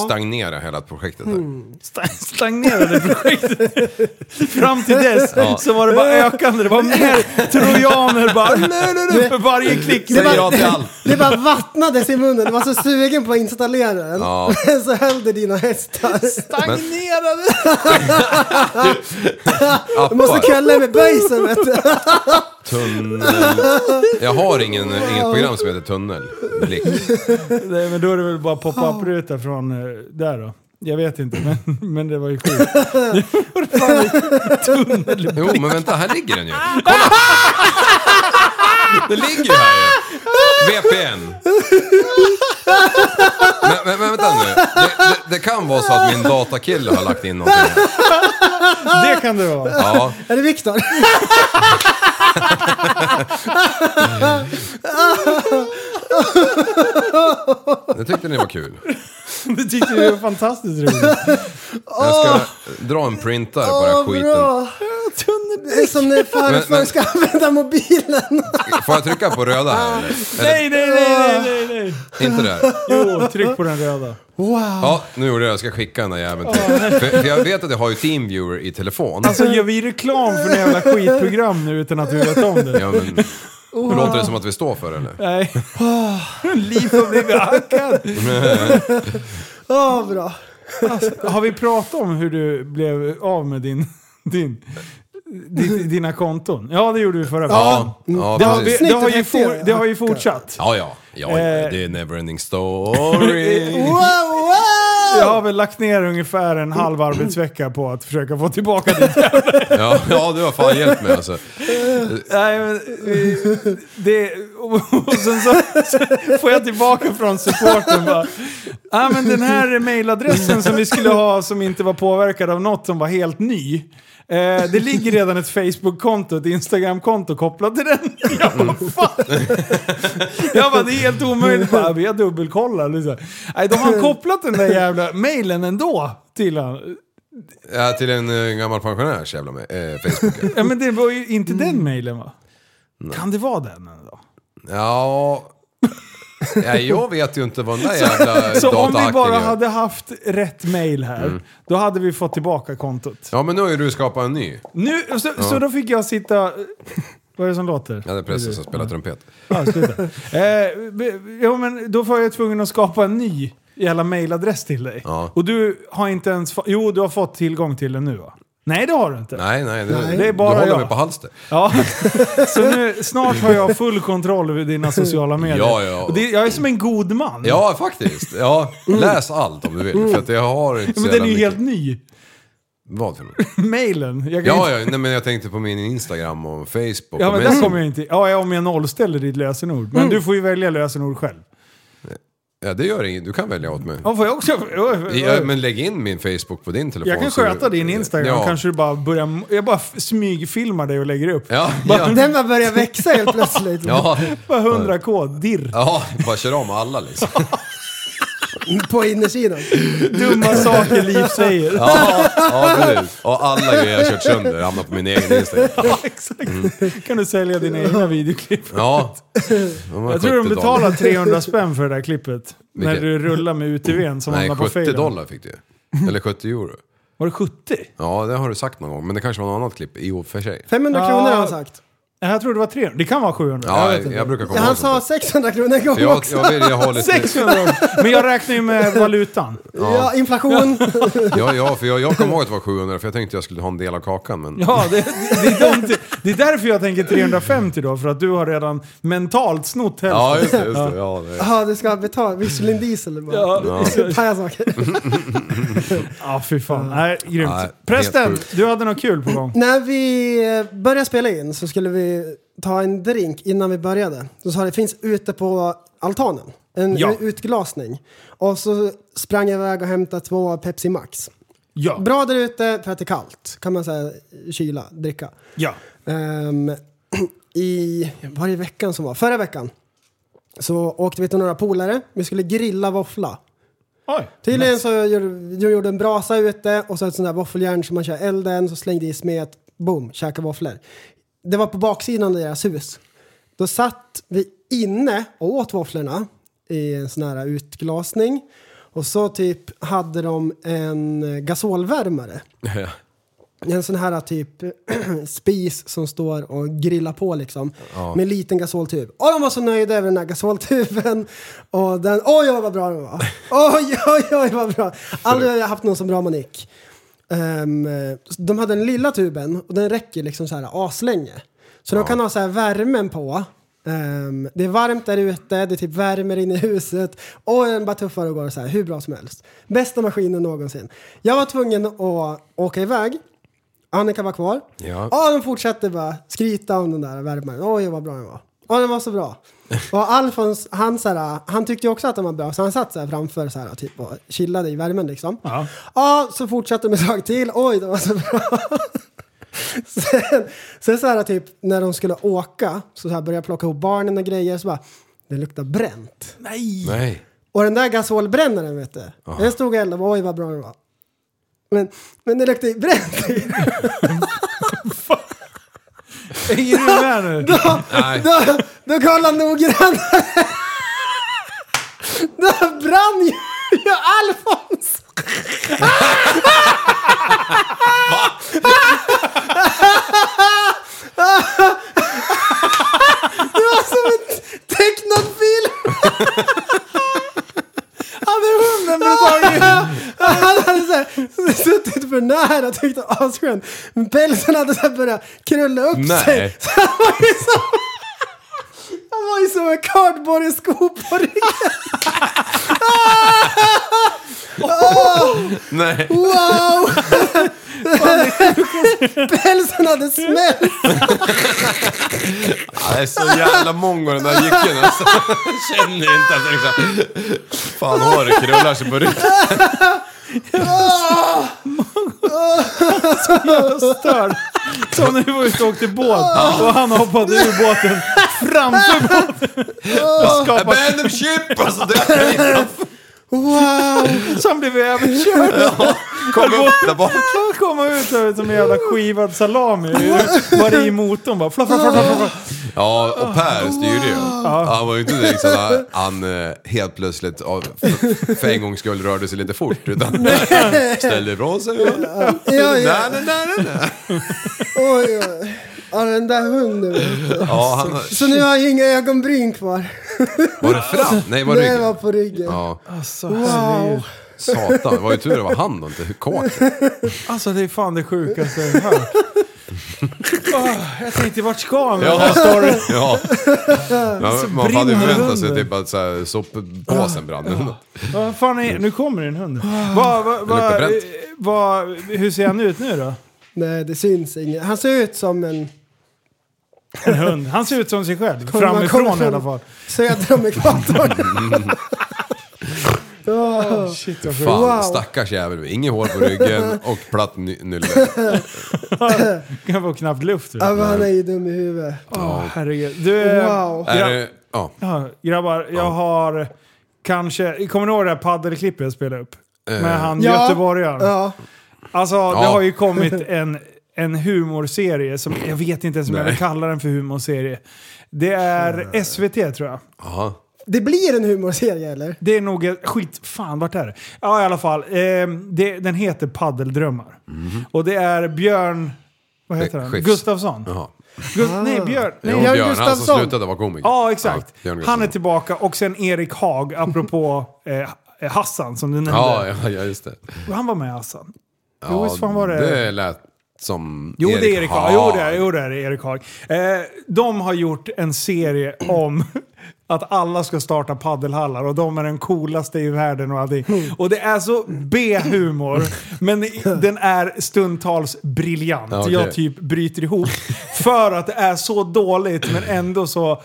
S6: stagnerade hela projektet. Här.
S4: Sta- Stagnerade projektet. [laughs] Fram till dess så var det bara ökande. Det var mer trojaner bara. Nej, nej, nej, för varje klick.
S6: Säger
S7: var-
S6: ja till allt.
S7: [laughs] Det bara vattnades i munnen. Du var så sugen på att installera den.
S6: Ja.
S7: [laughs] Men så höll det dina hästar.
S4: Stagnerade.
S7: Du måste
S6: Appar.
S7: kalla med böjsen vet du. [laughs]
S6: Tunnel. Jag har ingen, inget program som heter Tunnelblick.
S4: [laughs] Nej, men då är det väl bara pop-up-ruta från eh, där då. Jag vet inte, men, men det var ju sjukt. [laughs]
S6: Jo, men vänta, här
S4: [laughs]
S6: ligger den ju. Kolla! Den ligger ju här ju. VPN. Men, men, men vänta nu. Det, det, det kan vara så att min datakille har lagt in någonting. här.
S4: Det kan det vara.
S6: Ja.
S7: Är det Viktor?
S6: Det tyckte ni var kul.
S4: Det tyckte vi var fantastiskt roligt.
S6: Jag ska dra en printare på den här
S7: Åh,
S6: skiten.
S7: bra! Det är som när
S6: Men-
S7: farfar
S6: men-
S7: ska använda mobilen. [laughs]
S6: Får jag trycka på röda här eller?
S4: Nej, nej, nej, nej, nej, nej.
S6: Inte där?
S4: Jo, tryck på den röda.
S6: Ja, nu gjorde jag det. Jag ska skicka den där jäveln till. För, för jag vet att jag har ju Teamviewer i telefon.
S4: Alltså gör vi reklam för några jävla skitprogram nu utan att vi vet om det?
S6: Ja, men, Låter det som att vi står för det eller?
S4: Nej. [laughs] Liv har blivit hackad.
S7: Ja, bra.
S4: Har vi pratat om hur du blev av med din, din, din, dina konton? Ja, det gjorde vi förra veckan.
S6: Ja, ja
S4: Det har, vi,
S6: precis.
S4: det, har ju
S7: Snyggt att
S4: for, det har ju fortsatt.
S6: Ja, ja. ja
S4: Eh.
S6: det är neverending story.
S7: Wow, wow!
S4: Jag har väl lagt ner ungefär en halv arbetsvecka på att försöka få tillbaka det.
S6: Ja, ja, du har fan hjälpt mig alltså.
S4: Nej, men, eh, det och sen så, så får jag tillbaka från supporten bara. Ja, men den här mailadressen som vi skulle ha som inte var påverkad av något som var helt ny. Eh, det ligger redan ett Facebook-konto, ett Instagram-konto kopplat till den. [laughs] Jag bara, fan. Jag bara, det är helt omöjligt. Bara, vi har dubbelkollat. Liksom. Nej, de har kopplat den där jävla mailen ändå till han.
S6: Ja, till en eh, gammal pensionärs jävla med, eh, Facebook.
S4: Ja, men det var ju inte den mailen va? Kan det vara den ändå?
S6: Ja... ja, jag vet ju inte vad den där
S4: [laughs]
S6: jävla
S4: Så om vi bara
S6: datahackningen-
S4: hade haft rätt mail här,
S6: Mm.
S4: då hade vi fått tillbaka kontot.
S6: Ja, men nu har ju du skapat en ny.
S4: Nu, så, så då fick jag sitta [laughs] Vad är det som låter?
S6: Ja, det är prästen som spelar trumpet.
S4: Ja, sluta.
S6: [laughs]
S4: eh, b- jo, men då var jag tvungen att skapa en ny jävla mailadress till dig.
S6: Ja.
S4: Och du har inte ens fått... Jo, du har fått tillgång till den nu va? Nej, det har du inte.
S6: Nej, nej,
S4: Nej.
S6: det,
S4: Det är bara
S6: du håller
S4: jag.
S6: mig på halster. [laughs]
S4: Ja, [laughs] så nu, snart har jag full kontroll över dina sociala medier.
S6: Ja, ja.
S4: Och det, jag är som en god man.
S6: Ja, faktiskt. Ja, läs allt om du vill. För att jag har inte
S4: Mm. Ja,
S6: så
S4: men den är
S6: jävla
S4: ju
S6: mycket-
S4: helt ny.
S6: Vad för något?
S4: Mailen. Jag kan
S6: Ja,
S4: inte-
S6: ja, nej, men jag tänkte på min Instagram och Facebook.
S4: ja, men
S6: och Messenger.
S4: där kommer jag inte... Ja, om jag nollställer ditt lösenord. Men
S6: Mm.
S4: du får ju välja lösenord själv.
S6: ja, det gör inget. Du kan välja åt mig.
S4: Ja, får jag också...
S6: Ja, men lägg in min Facebook på din telefon.
S4: Jag kan
S6: så-
S4: sköta din Instagram,
S6: Ja.
S4: kanske du bara börjar... Jag bara f- smygfilmar dig och lägger upp.
S6: Ja,
S4: Bara-
S6: ja.
S7: Den bara börjar växa helt plötsligt.
S6: Ja.
S4: Bara 100k, dirr.
S6: ja, bara kör om alla liksom.
S7: [laughs] På insidan.
S4: Dumma saker liv säger.
S6: Ja, ja precis. Och alla grejer jag kört sönder hamnar på min egen Instagram.
S4: Ja, exakt.
S6: Mm.
S4: kan du sälja dina egna videoklipp.
S6: Ja.
S4: Jag tror de betalar 300 spänn för det där klippet. När
S6: Vilket?
S4: du rullar med UTVn som
S6: Nej,
S4: hamnar på
S6: 70
S4: fejden.
S6: dollar fick du Eller 70 euro.
S4: Var det 70?
S6: Ja, det har du sagt någon gång. Men det kanske var något annat klipp i och för sig.
S7: 500
S4: Ja.
S7: kronor har han sagt.
S4: Jag tror det var 300. Det kan vara 700.
S6: Ja,
S4: vet
S6: jag,
S4: inte.
S6: brukar komma
S7: Han
S6: ihåg
S7: sa
S6: sånt
S7: 600 kronor en gång
S6: där. jag,
S7: också.
S6: jag vill jag [laughs] ha lite...
S4: 600 dollar. Men jag räknar ju med valutan.
S7: Ja, inflation. [laughs]
S6: Ja, ja, för jag, jag kommer ihåg att det var 700 för jag tänkte jag skulle ha en del av kakan. Men...
S4: Ja, det, det, är de, det är därför jag tänker 350 då. För att du har redan mentalt snott hälften.
S6: Ja, just det. Just det. Ja, det.
S7: Jaha, du ska ha betalt. Michelin diesel bara.
S4: Ja.
S7: Paja saker.
S4: Ja, fy fan. Nej, grymt.
S6: Nej, helt
S4: Prästen,
S6: sjukt.
S4: du hade något kul på gång.
S7: När vi eh, började spela in så skulle vi ta en drink innan vi började. Så sa det finns ute på altanen. En
S4: Ja.
S7: u- utglasning. Och så sprang jag iväg och hämtade två Pepsi Max.
S4: Ja.
S7: Bra där ute för att det är kallt. Kan man säga kyla, dricka.
S4: Ja.
S7: Ehm, [clears throat] I, var det i veckan som var? Förra veckan. Så åkte vi till några polare. Vi skulle grilla våffla.
S4: Oj.
S7: Tydligen så gjorde, jag gjorde en brasa ute och så ett sånt där våffeljärn som man kör elden, så slängde i smet, boom, käka våfflor. Det var på baksidan av deras hus. Då satt vi inne och åt våfflorna i en sån här utglasning. Och så typ hade de en gasolvärmare.
S6: Ja.
S7: En sån här typ [clears throat] spis som står och grillar på liksom. Med en liten gasoltub. Och de var så nöjda över den här gasoltuben. Och den, oj oj vad bra den var. Oj oj oj vad bra. Aldrig har jag haft någon så bra manik. Ehm, de hade den lilla tuben och den räcker liksom så här aslänge. Så de kan ha så här värmen på. Ehm, det är varmt där ute, det typ värmer in i huset och den bara tuffar och går så här hur bra som helst. Bästa maskinen någonsin. Jag var tvungen att åka iväg. Annika var kvar.
S6: Ja.
S7: Ja, de fortsatte bara skryta om den där värmen. Oj, vad bra den var. Ja, den var så bra. Och Alfons, han, så här, han tyckte ju också att den var bra, så han satt så här framför så här, typ, och chillade i värmen liksom.
S4: Ja.
S7: Ja, så fortsatte de ett tag till. Oj, den var så bra. [laughs] Sen, sen så här typ när de skulle åka så, så här började jag plocka ihop barnen och grejer så bara det luktar bränt.
S4: Nej.
S6: Nej.
S7: Och den där gasolbrännaren vet du. Den stod och eldade. Oj vad bra den var. Men, men det luktar ju bränt [laughs] i den.
S4: Hänger du med nu?
S6: Nej.
S7: Då, då kollade han noggrannare. Då brann ju, ju Alfons. Det var som en tecknad film. Han är hunden med [laughs] Han hade så här, suttit för nära och tyckte asskönt. Men pälsen hade så här börjat krulla upp
S6: Nej.
S7: sig. Så han var ju som... Han var ju som en kardborresko på ryggen.
S6: Nej.
S7: Wow! Pälsen hade smält.
S6: Ja, det är så jävla mongo den där jycken alltså. Jag [laughs] känner inte att det liksom... Fan håret krullar sig på [laughs] ryggen.
S4: Jag stör. Som när vi var ute och åkte båt och han hoppade ur båten framför båten. Och skapade,
S6: Abandon ship! Alltså det
S7: Wow!
S4: så han blev överkörd.
S6: Kom upp där bak.
S4: Han kom ut där som en jävla skivad salami. Bara i motorn bara. Fla, fla, fla, fla, fla.
S6: Ja, och Per styrde ju.
S7: Ah.
S6: Han var ju inte direkt sådär, han eh, helt plötsligt av, för, för en gångs skull rörde sig lite fort.
S7: [laughs]
S6: Utan ställde ifrån sig.
S7: Ja,
S6: Nej,
S7: ja.
S6: nej, nej, nej.
S7: Oj, oj. Ja, den där hunden. vet du.
S6: Ja, han har-
S7: Så nu har jag ju inga ögonbryn kvar.
S6: Var det fram? Nej, var det
S7: Nej,
S6: ryggen?
S7: det var på ryggen.
S6: Ja.
S4: Alltså,
S7: Wow.
S6: Satan, det var ju tur det var han och inte kåken.
S4: Alltså det är fan det sjukaste jag har
S7: [laughs]
S4: hört. Åh, Jag tänkte vart ska han med den här storyn?
S6: Ja. ja.
S4: Så
S6: Man, man hade ju
S4: brinner
S6: förväntat sig
S4: hunden.
S6: typ att så här, soppåsen brann. eller något.
S4: Vad fan är, nu kommer det en hund.
S7: Ah.
S4: Vad, vad,
S6: Det luktar
S4: vad,
S6: bränt.
S4: vad, hur ser han ut nu då?
S7: Nej, det syns inget. Han ser ut som en...
S4: En hund. Han ser ut som sig själv.
S7: Kommer man- kommer
S4: Framifrån
S7: från
S4: i alla
S7: [laughs]
S4: fall.
S7: Söder
S4: [laughs]
S7: om ekvatorn. oh,
S4: shit,
S6: Fan, stackars jävel. Inget hår på ryggen och platt ny- nylle.
S4: Kan få knappt luft.
S7: Ja, men han är ju dum i huvudet.
S4: Åh, herregud. Du,
S7: Ah.
S4: eh,
S7: Wow.
S6: Är
S4: gra-
S6: det, ja.
S4: ja, grabbar, jag har kanske... Kommer ni ihåg det här paddelklippet jag spelade upp?
S6: Eh.
S4: Med han
S7: Ja.
S4: göteborgaren.
S7: Ja.
S4: Alltså, det
S6: Ja.
S4: har ju kommit
S6: [laughs]
S4: en, en humorserie som jag vet inte ens om jag
S6: Nej.
S4: vill kalla den för humorserie. Det är SVT tror jag.
S6: Aha.
S7: Det blir en humorserie eller?
S4: Det är nog ett- skit... Fan, vart är det? Ja, i alla fall. Ehm, det, den heter Paddeldrömmar.
S6: Mhm.
S4: Och det är Björn... Vad heter
S6: Eh,
S4: han?
S6: Skifs.
S4: Gustavsson.
S6: Jaha.
S4: Gus- Nej, Björn... Nej,
S6: Ah. Jo,
S7: Björn
S6: Björn, han som
S7: Gustafsson.
S6: slutade vara komiker.
S4: Ja, exakt.
S6: Björn
S4: han är
S6: Gustafsson.
S4: tillbaka. Och sen Erik Haag,
S6: [laughs]
S4: apropå eh, Hassan som du nämnde.
S6: Ja, ja, ja, just det.
S4: Han var med i Hassan.
S6: Ja,
S4: Jo, visst fan var det-
S6: Det lät som
S4: Jo, det är Erik Haag. Jo,
S6: Haag.
S4: det är, jo, det är Erik Haag. Eh, de har gjort en serie om [laughs] att alla ska starta paddelhallar och de är den coolaste i världen och allting. Och det är så B-humor, men i- den är stundtals briljant.
S6: Ja, okej.
S4: Jag typ bryter ihop för att det är så dåligt men ändå så eh,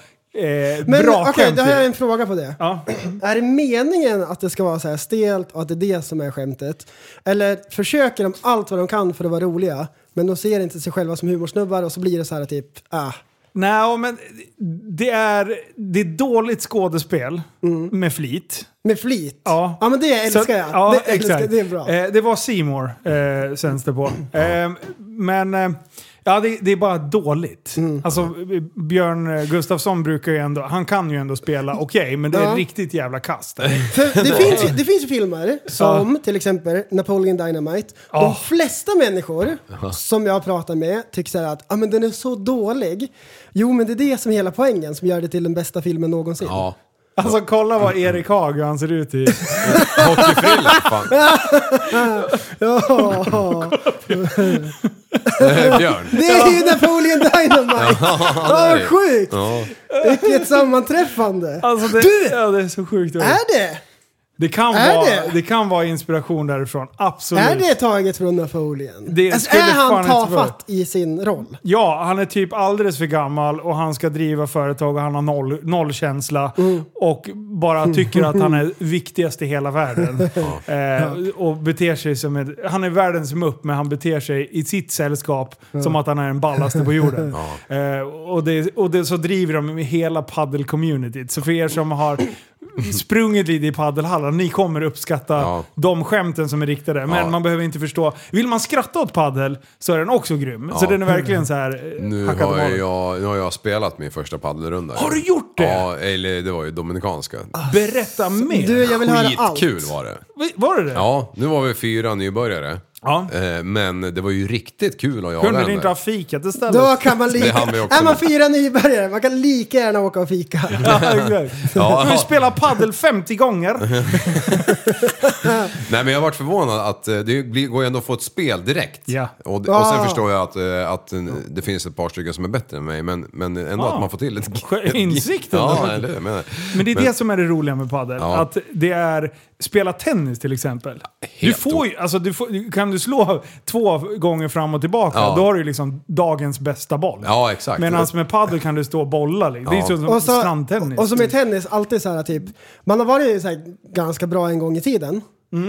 S7: Men
S4: bra
S7: okej,
S4: skämt.
S7: då har
S4: i det.
S7: jag en fråga på det.
S4: Ja.
S7: Är det meningen att det ska vara så här stelt och att det är det som är skämtet? Eller försöker de allt vad de kan för att vara roliga, men de ser inte sig själva som humorsnubbar och så blir det så här typ, ah.
S4: Nej, men det är, det är dåligt skådespel med flit.
S7: Med flit.
S4: Ja.
S7: ja men det älskar
S4: Så-
S7: jag.
S4: Ja,
S7: det,
S4: exakt.
S7: älskar, det är bra.
S4: Eh, det var Seymour eh, sänds det på. Eh, men eh, ja, det, det är bara dåligt.
S7: Mm.
S4: Alltså, eh, Björn eh, Gustafsson brukar ju ändå, han kan ju ändå
S7: [laughs]
S4: spela okej, men det är
S7: Ja.
S4: riktigt jävla kast.
S6: [laughs]
S7: För det, finns, ju- det finns ju filmer som till exempel Napoleon Dynamite.
S4: Ja.
S7: De flesta människor som jag pratar med tycker så här att ah, men den är så dålig. Jo men det är det som är hela poängen som gör det till den bästa filmen någonsin.
S6: Ja.
S4: Alltså kolla vad
S7: Mm.
S4: Erik Haag hur han ser ut i. [laughs]
S6: Hockeyfrilla, fan. [laughs]
S7: Ja.
S6: Eh, Björn.
S7: Det är ju Napoleon Dynamite!
S6: det
S7: Vad
S6: är det.
S7: sjukt!
S6: Ja.
S7: Vilket sammanträffande!
S4: Alltså det,
S7: Du!
S4: Ja, det är så sjukt.
S7: Är det?
S4: Det kan,
S7: Är
S4: vara, det?
S7: det?
S4: kan vara inspiration därifrån, absolut.
S7: Är det taget från Napoleon?
S4: Det
S7: alltså,
S4: skulle
S7: är
S4: fan
S7: han
S4: inte vara.
S7: tafatt i sin roll?
S4: Ja, han är typ alldeles för gammal och han ska driva företag och han har noll, noll känsla och bara tycker att han är viktigast i hela världen. eh, och beter sig som en... Han är världens mupp men han beter sig i sitt sällskap som att han är den ballaste på
S6: [laughs]
S4: jorden. eh, och det, och det, så driver de hela paddel-communityt. Så för er som har sprungit lite i paddelhallar, ni kommer uppskatta
S6: Ja.
S4: de skämten som är riktade. Men
S6: Ja.
S4: man behöver inte förstå. Vill man skratta åt paddel så är den också grym. Så
S6: Ja.
S4: den är verkligen så här eh,
S6: Nu
S4: hackad
S6: har,
S4: i mål.
S6: jag, nu har jag spelat min första paddelrunda.
S4: Har du gjort det? Ah,
S6: Ja, eller det var ju Dominikanska.
S4: Berätta mer!
S7: Du, jag vill höra allt.
S6: Skitkul var det.
S4: Vi- Var det det?
S6: Ja, nu var vi fyra nybörjare.
S4: Ja.
S6: Eh, Men det var ju riktigt kul att jaga
S4: Kunde ni
S6: den
S4: inte
S6: där.
S4: ha fikat istället?
S7: Då kan man
S6: Det
S7: lika...
S6: hann vi också
S7: Är man
S6: med.
S7: fyra nybörjare, man kan lika gärna åka och fika.
S4: [laughs] Ja, exakt.
S6: Ja.
S4: Du spelar paddel 50 gånger.
S6: Nej men jag varit förvånad att eh, det blir- går ju ändå att få ett spel direkt.
S4: Ja.
S6: Och, och sen
S7: Ah.
S6: förstår jag att, eh, att eh, det finns ett par stycken som är bättre än mig, men, men ändå
S4: Ah.
S6: att man får till ett...
S4: Sjö- insikten.
S6: Ja, eller hur? Men,
S4: Men det är det som är det roliga med padel.
S6: Typ Ja.
S4: Att det är, spela tennis till exempel. Du
S6: Helt
S4: får ju, alltså du får, kan du slå två gånger fram och tillbaka,
S6: Ja.
S4: då har du ju liksom dagens bästa boll.
S6: Ja, exakt.
S4: Medan med padel kan du stå och bolla. Liksom. Det är
S6: Ja.
S4: ju som
S7: Och, så,
S4: strandtennis.
S7: och som i tennis, alltid så här typ, man har varit så här, ganska bra en gång i tiden.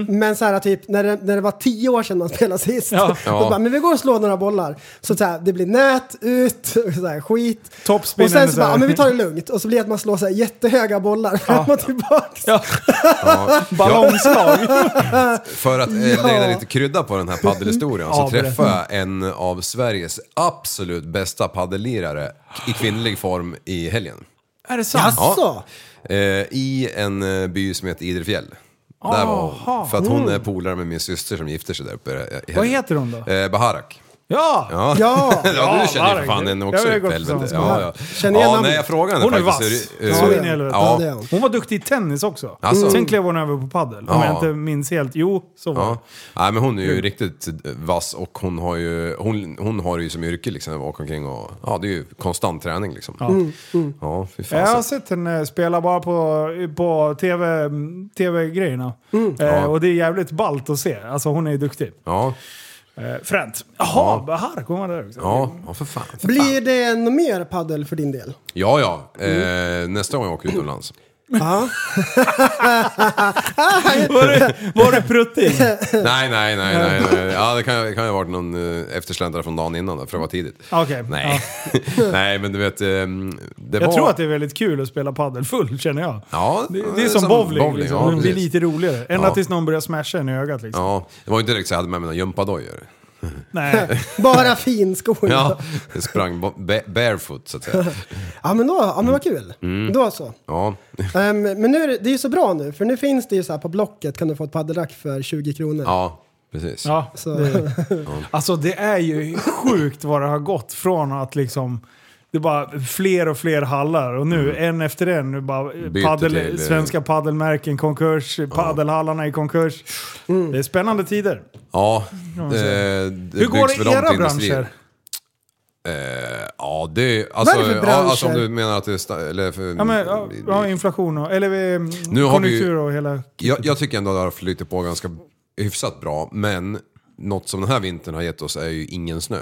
S7: Men så här typ, när det, när det var tio år sedan man [laughs] spelade sist,
S4: Mm. Ja.
S7: då
S6: Ja.
S7: bara, men vi går och slår några bollar. Så, så här, det blir nät, ut, [laughs] så här, skit.
S4: Topspinnen
S7: Och sen
S4: är
S7: så,
S4: så
S7: bara,
S4: här.
S7: ja, men vi tar det lugnt. Och så blir det att man slår så här jättehöga bollar fram och tillbaks.
S6: [laughs]
S4: Ja. [laughs]
S6: Ja.
S4: Ballongslag.
S6: För att eh, lägga lite krydda på den här paddelhistorien
S4: Ja,
S6: så träffade jag en av Sveriges absolut bästa paddellirare i kvinnlig form i helgen.
S4: [laughs] Är det sant?
S7: Så.
S6: Eh, I en eh, by som heter Idrefjäll. Där var hon. För att hon är polare med min syster som gifter sig där uppe i helgen.
S4: Vad oh. heter hon då?
S6: Eh, Baharak.
S4: Ja!
S6: Ja,
S4: Ja.
S6: [laughs] ja, du känner ju
S4: verkligen.
S6: för fan henne
S4: Jag
S6: också
S4: har
S6: upp
S4: gått
S6: i helvete.
S4: tillsammans med
S6: Ja,
S4: henne.
S6: ja.
S4: Känner igen
S6: ja,
S4: namnet.
S6: nej, jag frågade henne
S4: Hon är
S6: faktiskt.
S4: vass.
S6: hur- hur-
S4: Så in i helvete.
S6: Ja.
S4: Hon var duktig i tennis också.
S6: Alltså.
S4: Sen klev hon över på padel. Om
S6: Ja.
S4: jag inte minns helt. Jo, så var
S6: Ja.
S4: det.
S6: Nej, men hon är ju riktigt vass och hon har ju, hon, hon har det ju som yrke liksom, att åka omkring och, ja det är ju konstant träning liksom. Ja,
S4: Mm,
S6: ja fy
S4: Jag har
S6: fan.
S4: sett henne spela bara på, på TV, tv-grejerna. Eh,
S6: Mm. Ja.
S4: Och det är jävligt ballt att se. Alltså hon är duktig.
S6: Ja,
S4: Eh, fränt. Jaha, Bahar kom hon där också.
S6: ja, ja för fan.
S7: Blir det något mer paddel för din del? [laughs]
S6: Ja, ja.
S4: Mm.
S6: Eh, nästa gång jag åker utomlands. [clears throat]
S7: Ja.
S4: [laughs] Var det
S6: [laughs]
S4: pruttig?
S6: Nej, nej, nej, nej.
S4: [laughs]
S6: nej. Ja, det kan ju kan ju ha varit någon eh, eftersläntrare från dagen innan då, för det var tidigt.
S4: Ah, Okej.
S6: Nej. [laughs] nej, men du vet. ehm, Det
S4: Jag
S6: var...
S4: tror att det är väldigt kul att spela padel full, känner jag.
S6: Ja,
S4: Det, det är som, bowling, liksom.
S6: ja,
S4: det blir
S6: precis.
S4: lite roligare. Ända
S6: Ja.
S4: tills någon börjar smasha en i ögat liksom.
S6: Ja, det var ju inte direkt så jag hade med mig några gympadojer.
S4: Nej.
S7: Bara finskor.
S6: [laughs] Ja, jag sprang bo- ba- barefoot så att säga.
S7: ja men då, ja men vad kul.
S6: Mm.
S7: Då så.
S6: Ja, [laughs]
S7: Ehm, men nu är det, det är ju så bra nu, för nu finns det ju så här på Blocket kan du få ett paddelrack för 20 kronor.
S6: ja precis.
S4: Ja,
S7: Så-
S4: det, alltså det är ju sjukt vad det har gått från att liksom det är bara fler och fler hallar och nu en efter en, nu bara
S6: Mm. Byter
S4: paddel,
S6: till, eh,
S4: svenska paddelmärken konkurs, paddelhallarna i konkurs.
S7: Mm.
S4: Det är spännande tider.
S6: Ja,
S4: Ja,
S6: eh, det
S4: Hur går
S6: byggs
S4: det
S6: väl
S4: i
S6: om
S4: era
S6: till industrier.
S4: branscher?
S6: Eh, ja, det... Alltså,
S4: Vad är det för
S6: ja, alltså om
S4: branscher?
S6: du menar att det är... sta- Eller för,
S4: Ja, men, ja, ja, inflation och eller, eh,
S6: Mm. Nu har vi ju-
S4: konjunktur och hela...
S6: Jag, jag tycker ändå att det har flyttat på ganska hyfsat bra, men något som den här vintern har gett oss är ju ingen snö.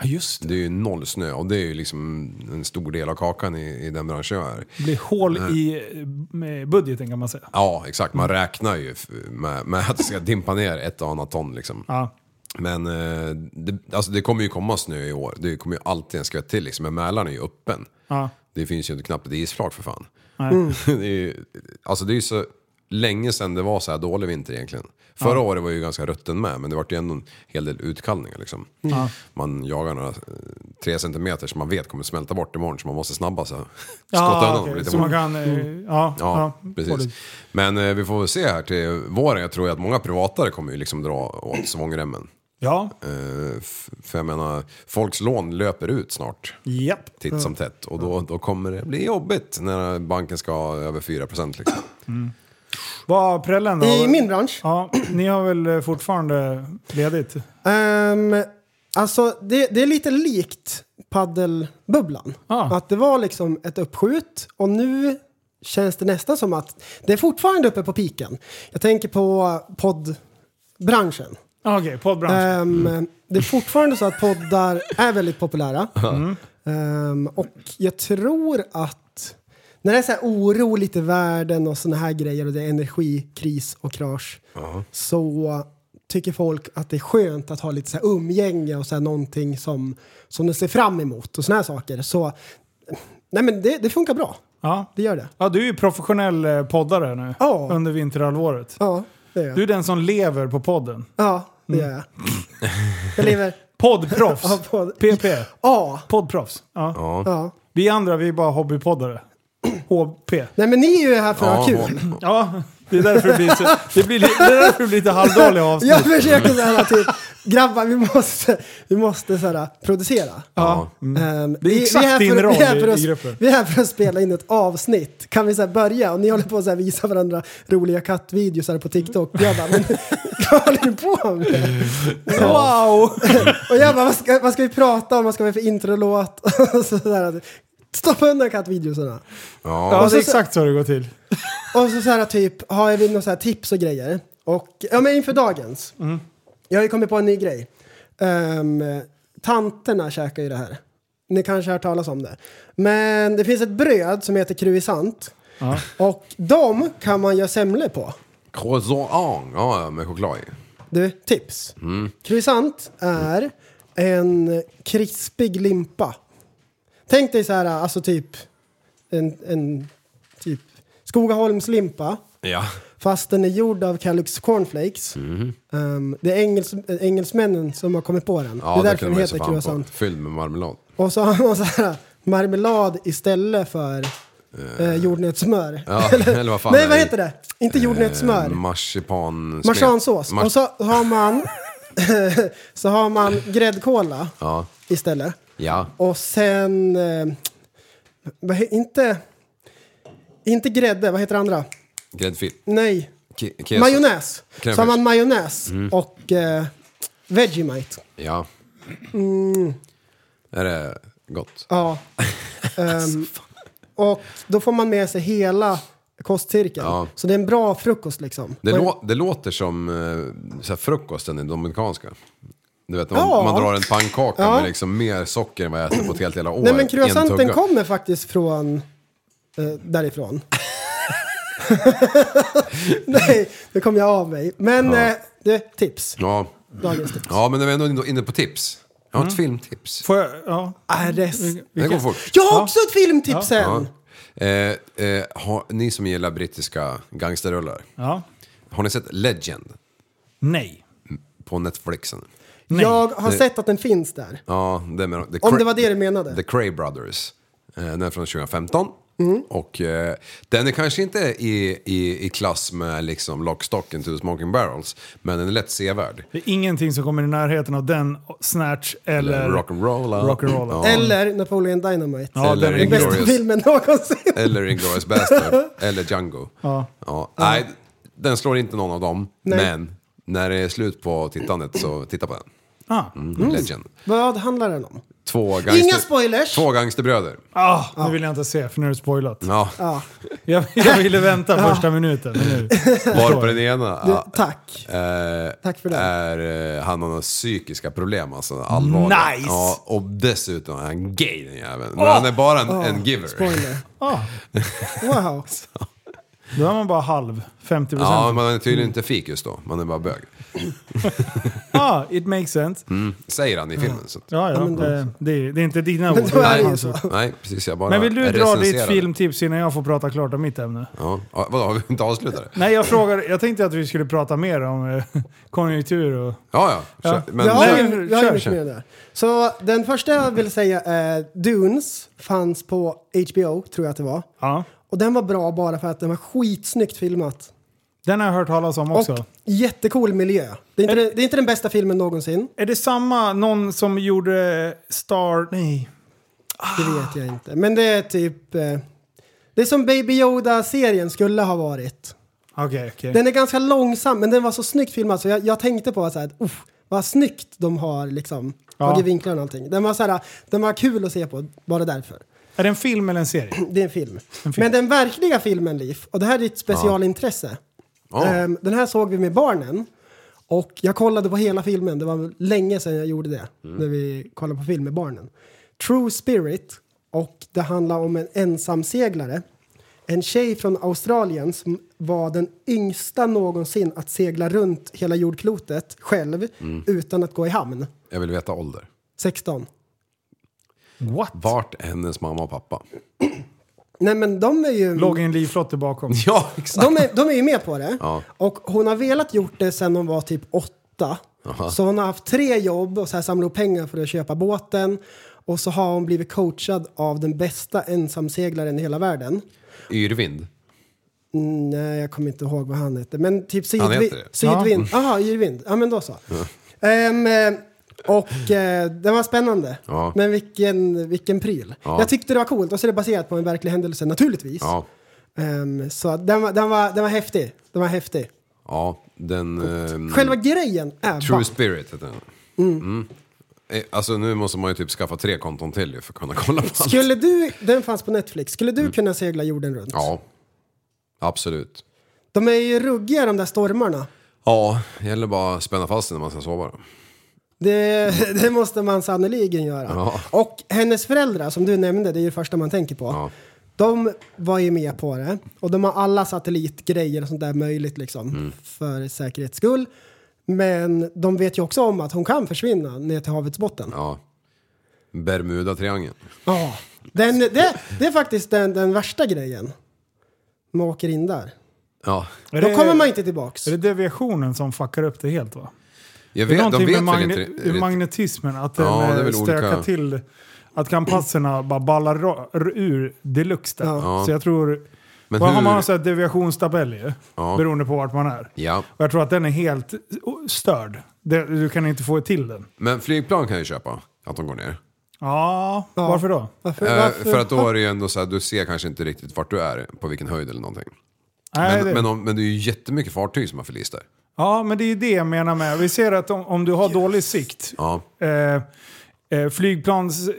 S4: Ja, just
S6: det. är ju noll snö och det är ju liksom en stor del av kakan i, i den branschen jag är.
S4: Det blir hål i eh, med budgeten kan man säga.
S6: Ja, exakt. Man räknar ju f- med, med att det ska dimpa ner ett och annat ton liksom.
S4: Ja.
S6: Men eh, det, alltså det kommer ju komma snö i år. Det kommer ju alltid en skvätt till liksom. Men Mälaren är ju öppen.
S4: Ja.
S6: Det finns ju inte knappt ett isflak för fan.
S4: Nej.
S6: Mm. [laughs] det är ju, alltså det är ju så länge sedan det var så här dålig vinter egentligen. Förra
S4: Ja.
S6: året var ju ganska rutten med, men det vart ju ändå en hel del utkallningar liksom.
S4: Mm. Ja.
S6: Man jagar några eh, tre centimeter som man vet kommer smälta bort imorgon, så man måste snabba [laughs] sig. Skotta
S4: Ja,
S6: undan dem
S4: okej,
S6: lite
S4: så man
S6: fort.
S4: kan... eh, Ja,
S6: Ja,
S4: ja,
S6: precis. Men eh, vi får väl se här till våren. Jag tror ju att många privatare kommer ju liksom dra åt svångremmen.
S4: Ja.
S6: Eh, f- För jag menar, folks lån löper ut snart.
S4: Japp.
S6: Titt som tätt. Och då, då kommer det bli jobbigt när banken ska ha över 4% liksom.
S4: Vad prällen då?
S7: I min bransch?
S4: Ja, ni har väl eh, fortfarande ledigt?
S7: Ehm, alltså det, det är lite likt paddelbubblan. Att det var liksom ett uppskjut och nu känns det nästan som att det är fortfarande uppe på piken. Jag tänker på poddbranschen.
S4: Okej, poddbranschen.
S7: Ehm, Det är fortfarande så att poddar är väldigt populära.
S4: Mm.
S7: Ehm, och jag tror att när det är så här oroligt i världen och sådana här grejer och det är energikris och krasch så tycker folk att det är skönt att ha lite så här umgänge och så här någonting som, som de ser fram emot och sådana här saker. Så nej men det, det funkar bra.
S4: Ja.
S7: Det gör det.
S4: Ja, du är ju professionell eh, poddare nu
S7: Ja.
S4: under vinterhalvåret.
S7: Ja, det gör jag.
S4: Du är den som lever på podden.
S7: Ja, det gör jag. Jag lever...
S4: Poddproffs.
S7: [laughs] Ja, podd-
S4: PP.
S7: Ja.
S4: Poddproffs. Ja.
S7: Ja.
S4: Vi andra, vi är bara hobbypoddare. [clears throat] HP.
S7: Nej men ni är ju här för att ha kul.
S4: Ja, det är därför det blir, så, det blir, li- det är därför det blir lite halvdåliga avsnitt.
S7: Jag försöker så här typ, grabbar vi måste, vi måste så här, producera.
S4: Ja.
S7: Ehm,
S4: Mm. Det är
S7: vi-
S4: exakt
S7: vi här
S4: din
S7: för-
S4: roll
S7: vi är här
S4: i-
S7: för att-
S4: i gruppen.
S7: Vi är här för att spela in ett avsnitt. Kan vi så här börja? Och ni håller på att så här visa varandra roliga kattvideos här på TikTok. Jag bara, men [laughs] vad håller ni på med?
S4: Wow! [laughs]
S7: Och jag bara, vad ska, vad ska vi prata om? Vad ska vi ha för introlåt? [laughs] Och så där. Stoppa undan kattvideosarna.
S4: Ja,
S7: Och
S4: det
S7: så-
S4: är exakt så det går till.
S7: Och så, så här typ, har vi några så här tips och grejer? Och, ja men inför dagens. Jag har ju kommit på en ny grej. Ehm, tanterna käkar ju det här. Ni kanske har hört talas om det. Men det finns ett bröd som heter kruisant.
S4: Ja.
S7: Och de kan man göra semlor på.
S6: Croissant, ja ja, med choklad i.
S7: Du, tips.
S6: Mm.
S7: Kruisant är en krispig limpa. Tänk dig så här, alltså typ en, en typ Skogaholmslimpa.
S6: Ja.
S7: Fast den är gjord av Kalux cornflakes.
S6: Mhm.
S7: Ehm, det är engels, eh, engelsmännen som har kommit på den.
S6: Ja,
S7: det är
S6: det
S7: därför
S6: kan
S7: den
S6: man ju se
S7: heter
S6: fan på.
S7: croissant.
S6: Fylld med marmelad.
S7: Och så har man så här marmelad istället för eh, jordnötssmör. [laughs]
S6: Ja, eller vad fan
S7: Nej,
S6: är
S7: vad
S6: det? Eh,
S7: heter det? Inte jordnötssmör.
S6: Marsipan... [laughs]
S7: Marsansås. Och så har man [laughs] så har man gräddkola
S6: Ja.
S7: istället.
S6: Ja.
S7: Och sen... Eh, vad he- inte... Inte grädde, vad heter det andra?
S6: Gräddfil.
S7: Nej,
S6: Ke- keso.
S7: majonnäs.
S6: Crème
S7: Så har man
S6: fraîche.
S7: majonnäs
S6: Mm.
S7: och eh, Vegemite.
S6: Ja.
S7: Mm,
S6: Är det gott? [laughs]
S7: ja.
S6: Alltså,
S7: Ehm, och då får man med sig hela kostcirkeln.
S6: Ja.
S7: Så det är en bra frukost liksom.
S6: Det,
S7: Och-
S6: lå- det låter som eh, så här frukosten i Dominikanska. Du vet, man,
S7: Ja.
S6: man drar en pannkaka
S7: Ja.
S6: med liksom mer socker än vad jag äter på ett helt jävla år.
S7: Nej men
S6: i en
S7: croissanten
S6: tugga.
S7: kommer faktiskt från eh,
S6: [laughs]
S7: därifrån. Nej, nu kom jag av mig. Men
S6: Ja.
S7: eh, det, tips.
S6: Ja.
S7: Dagens tips.
S6: ja, men när vi ändå är ändå inne på tips. Jag har ett
S7: Mm.
S6: filmtips.
S4: Får jag? Ja.
S7: Är det...
S6: Det går fort.
S7: Jag har också ett filmtips sen!
S6: Ja. Eh, eh, har, ni som gillar brittiska gangsterrullar,
S4: Ja.
S6: har ni sett Legend
S4: Nej.
S6: på Netflixen?
S7: Jag har
S6: Det-
S7: sett att den finns där.
S6: Ja, det är med, the
S7: Om
S6: Cra-
S7: det var det du menade.
S6: The Cray Brothers. Eh, Den är från 2015.
S7: Mm.
S6: Och eh, den är kanske inte i, i, i klass med liksom Lock, Stock and Two Smoking Barrels. Men den är lätt sevärd.
S4: Det är ingenting som kommer i närheten av den, Snatch eller...
S6: Rock'n'roll.
S4: Rock'n'roll.
S6: Ja.
S7: Eller Napoleon Dynamite.
S6: Ja, Eller den är-
S7: den bästa
S6: Inglourious.
S7: filmen någonsin.
S6: Eller Inglourious Bastard.
S7: [laughs]
S6: eller Django.
S7: Ja.
S6: Ja, nej, den slår inte någon av dem.
S7: Nej.
S6: Men när det är slut på tittandet så titta på den.
S4: Ah.
S6: Mm,
S7: Mm.
S6: Legend.
S7: Vad handlar den om?
S6: Två gangster...
S7: Inga spoilers!
S6: Två gangsterbröder.
S4: Ah, nu vill jag inte se för nu är det spoilat.
S6: Ja.
S7: Ja.
S4: Jag, jag ville vänta
S7: Ja.
S4: första minuten. Men nu.
S7: [laughs]
S6: Var på den ena.
S7: Du,
S6: ja,
S7: tack.
S6: Eh,
S7: Tack för det.
S6: Är, eh, han har några psykiska problem, alltså allvarliga.
S7: Nice!
S6: Ja, och dessutom är han gay den jäveln. Men
S4: Åh!
S6: han är bara en,
S4: Åh,
S6: en giver.
S4: spoiler. Ah,
S6: [laughs]
S7: Wow.
S4: då är man bara halv, 50 procent.
S6: Ja, man är tydligen inte fikus då, man är bara bög.
S4: Ah, it makes sense.
S6: Mm. Säger han i filmen. Så. att-
S4: Ja, ja.
S6: Mm.
S4: eh, det, det är inte dina ord.
S6: Nej, nej, precis. Jag bara
S4: Men vill du dra
S6: recenserar
S4: ditt
S6: det.
S4: filmtips innan jag får prata klart om mitt ämne?
S6: Ja. Ja, Vadå, har vi inte avslutat det?
S4: Nej, jag frågar. Jag tänkte att vi skulle prata mer om eh, [laughs] konjunktur och...
S6: Ja, ja.
S4: Ja.
S6: Kör. Men,
S4: Jag
S7: Jag har
S4: Nej,
S7: ju- jag har
S4: kör,
S7: ju mycket
S4: kör.
S7: mer där. Så den första jag vill säga är Dunes. Fanns på HBO, tror jag att det var.
S4: Ja.
S7: Och den var bra bara för att den var skitsnyggt filmat.
S4: Den har jag hört talas om också.
S7: Jättecool miljö. Det är, inte, det är inte den bästa filmen någonsin.
S4: Är det samma, någon som gjorde Star... Nej.
S7: Det vet jag inte. Men det är typ... eh, Det är som Baby Yoda-serien skulle ha varit.
S4: Okej, okej.
S7: Den är ganska långsam, men den var så snyggt filmad så jag, jag tänkte på så här, att, uff, vad snyggt de har liksom
S4: Ja.
S7: tagit vinklar och allting. Den var, så här, den var kul att se på, bara därför.
S4: Är det en film eller en serie?
S7: Det är en film. Men den verkliga filmen, Liv, och det här är ditt specialintresse.
S4: Ja.
S7: Ehm, den här såg vi med barnen. Och jag kollade på hela filmen, det var länge sedan jag gjorde det. När vi kollade på film med barnen. True Spirit, och det handlar om en ensamseglare. En tjej från Australien som var den yngsta någonsin att segla runt hela jordklotet själv
S6: Mm.
S7: utan att gå i hamn.
S6: Jag vill veta ålder.
S7: 16.
S4: What?
S6: Vart är hennes mamma och pappa? [laughs]
S7: Nej men de är ju...
S4: Låg i en livflotte bakom.
S6: Ja,
S7: De är, de är ju med på det.
S6: Ja.
S7: Och hon har velat gjort det sedan hon var typ åtta.
S6: Aha.
S7: Så hon har haft tre jobb och så här samlat ihop pengar för att köpa båten. Och så har hon blivit coachad av den bästa ensamseglaren i hela världen.
S6: Yrvind.
S7: Mm, nej, jag kommer inte ihåg vad han heter. Men typ
S6: Han heter
S7: Sydvind.
S6: det.
S7: Sydvind. Jaha, Yrvind. Ja, men då så. Ehm, eh, och eh, den var spännande.
S6: Ja.
S7: Men vilken, vilken pryl.
S6: Ja.
S7: Jag tyckte det var coolt. Och så är det baserat på en verklig händelse, naturligtvis.
S6: Ja,
S7: Ehm, så den, var- den, var, den var häftig. Den var häftig.
S6: ja den... ehm,
S7: Själva grejen är
S6: True
S7: bara...
S6: Spirit heter den.
S7: Mm.
S6: Mm. Eh, Alltså nu måste man ju typ skaffa tre konton till ju för att kunna kolla på allt.
S7: Skulle du, den fanns på Netflix, skulle du kunna segla jorden runt?
S6: Mm. Ja, absolut.
S7: De är ju ruggiga de där stormarna.
S6: Ja, det gäller bara att spänna fast sig när man ska sova då.
S7: Det, [laughs] det måste man sannoliken göra.
S6: Ja.
S7: Och hennes föräldrar, som du nämnde, det är ju det första man tänker på. De var ju med på det. Och de har alla satellitgrejer och sånt där möjligt liksom.
S6: Mm.
S7: För säkerhets skull. Men de vet ju också om att hon kan försvinna ner till havets botten.
S6: Ja. Bermuda-triangeln.
S7: Ja. Den, det, det är faktiskt den, den värsta grejen. Man åker in där.
S6: Ja.
S7: Då kommer man inte tillbaks.
S4: Är det deviationen som fuckar upp det helt va?
S6: Jag
S4: det är
S6: vet, de
S4: någonting
S6: vet
S4: med
S6: väl
S4: magne-
S6: inte...
S4: ur
S6: vet-
S4: magnetismen, att den
S6: Ja, det är
S4: eh,
S6: väl
S4: stökar
S6: olika.
S4: till... Att kampasserna bara ballar ra- r- ur deluxe där.
S6: Ja.
S4: Så jag tror...
S6: Men
S4: vad har man
S6: hur-
S4: en sån här deviationstabell ju?
S6: Ja.
S4: Beroende på vart man är.
S6: Ja.
S4: Och jag tror att den är helt o- störd. Det, du kan inte få till den.
S6: Men flygplan kan jag ju köpa, att de går ner.
S4: Ja, varför då?
S6: Eh, För att då är det ju ändå så här, du ser kanske inte riktigt vart du är, på vilken höjd eller någonting.
S4: Nej,
S6: men,
S4: det-
S6: men, om, men det är ju jättemycket fartyg som har förlist där.
S4: Ja, men det är ju det jag menar med. Vi ser att om, om du har dålig sikt,
S6: Ja.
S4: eh, eh, flygplans... eh,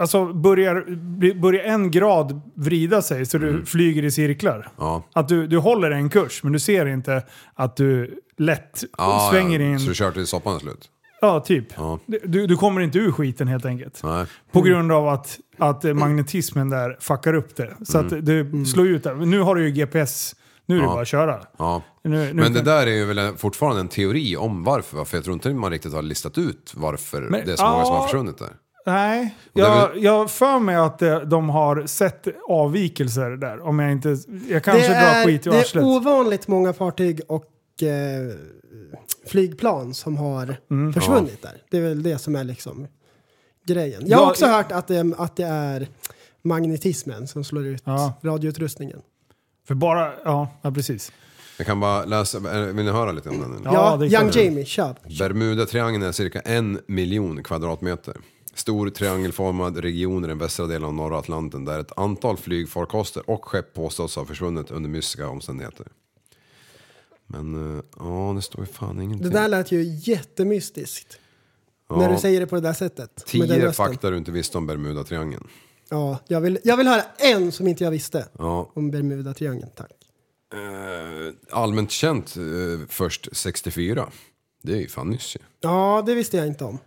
S4: Alltså börjar, börjar en grad vrida sig så du flyger i cirklar.
S6: Mm. Ja.
S4: Att du, du håller en kurs men du ser inte att du lätt
S6: Ja,
S4: svänger
S6: ja.
S4: in.
S6: Så du kör till soppan är slut.
S4: Ja, typ.
S6: Ja.
S4: Du, du kommer inte ur skiten helt enkelt.
S6: Nej.
S4: På grund av att, att eh, magnetismen där fuckar upp det. Så att du slår ut det. Nu har du ju GPS. Nu är det
S6: Mm. Ja.
S4: bara att köra.
S6: Ja.
S4: Nu, nu
S6: Men det
S4: kan-
S6: där är ju väl en- fortfarande en teori om varför. För jag tror inte man riktigt har listat ut varför
S4: Men-
S6: det är så många som har
S4: ja.
S6: försvunnit där.
S4: Nej,
S6: Och det är
S4: jag, jag har för mig att eh, de har sett avvikelser där. Om jag inte... Jag kanske
S7: det
S4: drar
S7: är,
S4: skit
S7: Det
S4: ur
S7: är
S4: arslet.
S7: ovanligt många fartyg och eh, flygplan som har
S4: Mm.
S7: försvunnit där. Det är väl det som är liksom grejen. Jag
S4: Ja,
S7: har också
S4: jag-
S7: hört att det, att det är magnetismen som slår ut
S4: Ja.
S7: radioutrustningen.
S4: För bara... Ja, ja precis.
S6: Jag kan bara läsa, eh, vill ni höra lite om den? eller?
S7: Ja, Young Jamie, kör.
S6: Bermuda-triangeln är cirka en miljon kvadratmeter. Stor triangelformad region i den västra delen av norra Atlanten där ett antal flygfarkoster och skepp påstås ha försvunnit under mystiska omständigheter. Men eh, ja, det står ju fan
S7: Det
S6: ingenting.
S7: där lät ju jättemystiskt.
S6: Ja.
S7: När du säger det på det där sättet. med den
S6: Tio
S7: rösten.
S6: fakta du inte visste om Bermuda-triangeln.
S7: Ja, jag vill, jag vill höra en som inte jag visste.
S6: Ja.
S7: Om Bermuda-triangeln, tack.
S6: Eh, allmänt känt eh, först 64. Det är ju fan nyss ju.
S7: Ja, det visste jag inte om.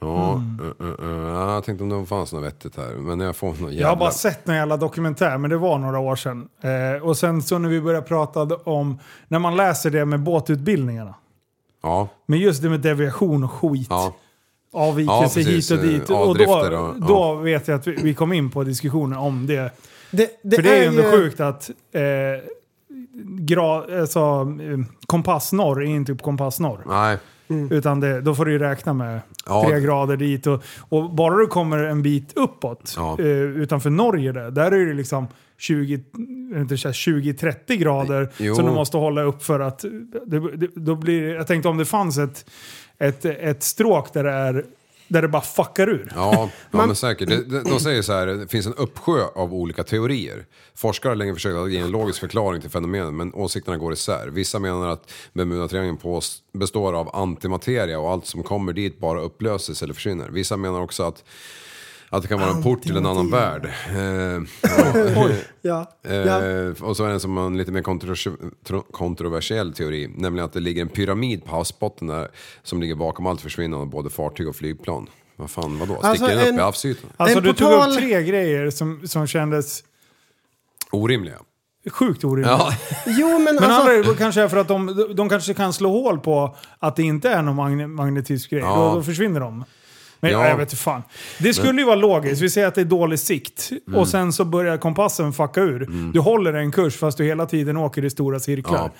S6: Ja, eh, eh, eh, jag tänkte om det fanns något vettigt här. Men jag får något
S4: Jag har bara
S6: jävla...
S4: sett någon jävla dokumentär, men det var några år sedan. Eh, och sen så när vi började prata om... När man läser det med båtutbildningarna.
S6: Ja,
S4: Men just det med deviation och skit.
S6: ja. Ja,
S4: Avvikelse
S6: precis. Eh,
S4: hit och dit. Och
S6: Avdrifter
S4: då,
S6: och-
S4: då vet jag att vi, vi kom in på diskussioner om det.
S7: Det, det
S4: För det är ju
S7: är
S4: ändå
S7: ju-
S4: sjukt att eh, gra, alltså, eh, kompass norr är inte kompass norr.
S6: Nej.
S4: Utan det, då får du ju räkna med
S6: Mm. Ja,
S4: tre
S6: det-
S4: grader dit. Och, och bara du kommer en bit uppåt
S6: Ja.
S4: eh, utanför Norge där, där är det liksom 20, är det inte så här 20-30 grader
S6: Jo.
S4: som du måste hålla upp för att... Det, det, då blir, det- jag tänkte om det fanns ett, ett, ett stråk där det, är, där det bara fuckar ur.
S6: Ja, ja men säkert. Det- det- De säger så här, det finns en uppsjö av olika teorier. Forskare har länge försökt att ge en logisk förklaring till fenomenet, men åsikterna går isär. Vissa menar att Bermudatriangeln pås- består av antimateria och allt som kommer dit bara upplöses eller försvinner. Vissa menar också att, att det kan vara en port till en annan värld. Eh, ja.
S7: Ja, ja.
S6: Eh, och så är det en som har en lite mer kontrovers- tro- kontroversiell teori, nämligen att det ligger en pyramid på havsbotten där som ligger bakom allt försvinnande av både fartyg och flygplan. Vad fan vadå? Sticker
S7: Alltså,
S6: den upp
S7: en-
S6: i havsytan?
S4: Alltså
S7: En
S4: du
S7: portal-
S4: tog upp tre grejer som, som kändes
S6: Orimliga.
S4: sjukt orimliga.
S6: Ja,
S7: Jo, men,
S4: Men
S7: alltså...
S4: andra är det kanske är för att de, de kanske kan slå hål på att det inte är någon magne, magnetisk grej.
S6: Ja.
S4: Då, då försvinner de. Men
S6: Ja.
S4: jag vet inte fan. Det skulle ju vara logiskt. Vi säger att det är dålig sikt
S6: Mm.
S4: och sen så börjar kompassen fucka ur. Du håller en kurs fast du hela tiden åker i stora cirklar.
S6: Ja.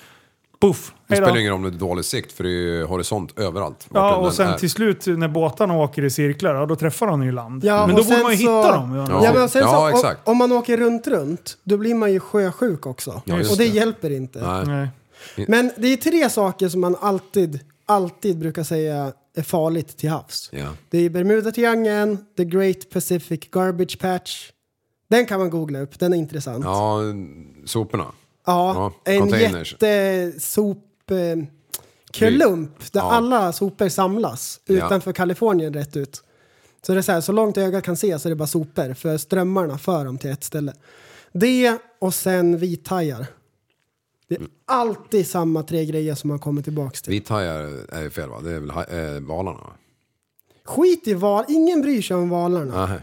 S4: Puff!
S6: det
S4: Hej då.
S6: spelar ingen roll om det är dålig sikt för det är ju horisont överallt. vart
S4: Ja,
S6: den än
S4: och sen
S6: är.
S4: till slut när båtarna åker i cirklar, ja, då träffar de ju land.
S7: Ja,
S4: Men
S7: och
S4: då borde
S7: sen
S4: man ju
S7: så-
S4: hitta dem.
S7: Ja,
S6: Ja.
S7: men och sen
S6: Ja,
S7: så, om,
S6: exakt.
S7: om man åker runt, runt, då blir man ju sjösjuk också.
S6: Ja, just
S7: och det,
S6: det.
S7: hjälper inte.
S6: Nej.
S4: Nej.
S7: Men det är tre saker som man alltid, alltid brukar säga är farligt till havs.
S6: Ja.
S7: Det är Bermuda-triangeln, The Great Pacific Garbage Patch. Den kan man googla upp, den är intressant.
S6: ja, soporna.
S7: Ja,
S6: Ja,
S7: en
S6: containers.
S7: jättesopklump eh, där
S6: Ja.
S7: alla sopor samlas
S6: Ja.
S7: utanför Kalifornien rätt ut. Så det är så här, så långt ögat kan se så är det bara sopor för strömmarna för dem till ett ställe. Det och sen vithajar. Det
S6: Mm.
S7: är alltid samma tre grejer som man kommer tillbaks till.
S6: Vithajar är ju fel va? Det är väl ha- eh, valarna? va?
S7: Skit i val, ingen bryr sig om valarna.
S6: Nej.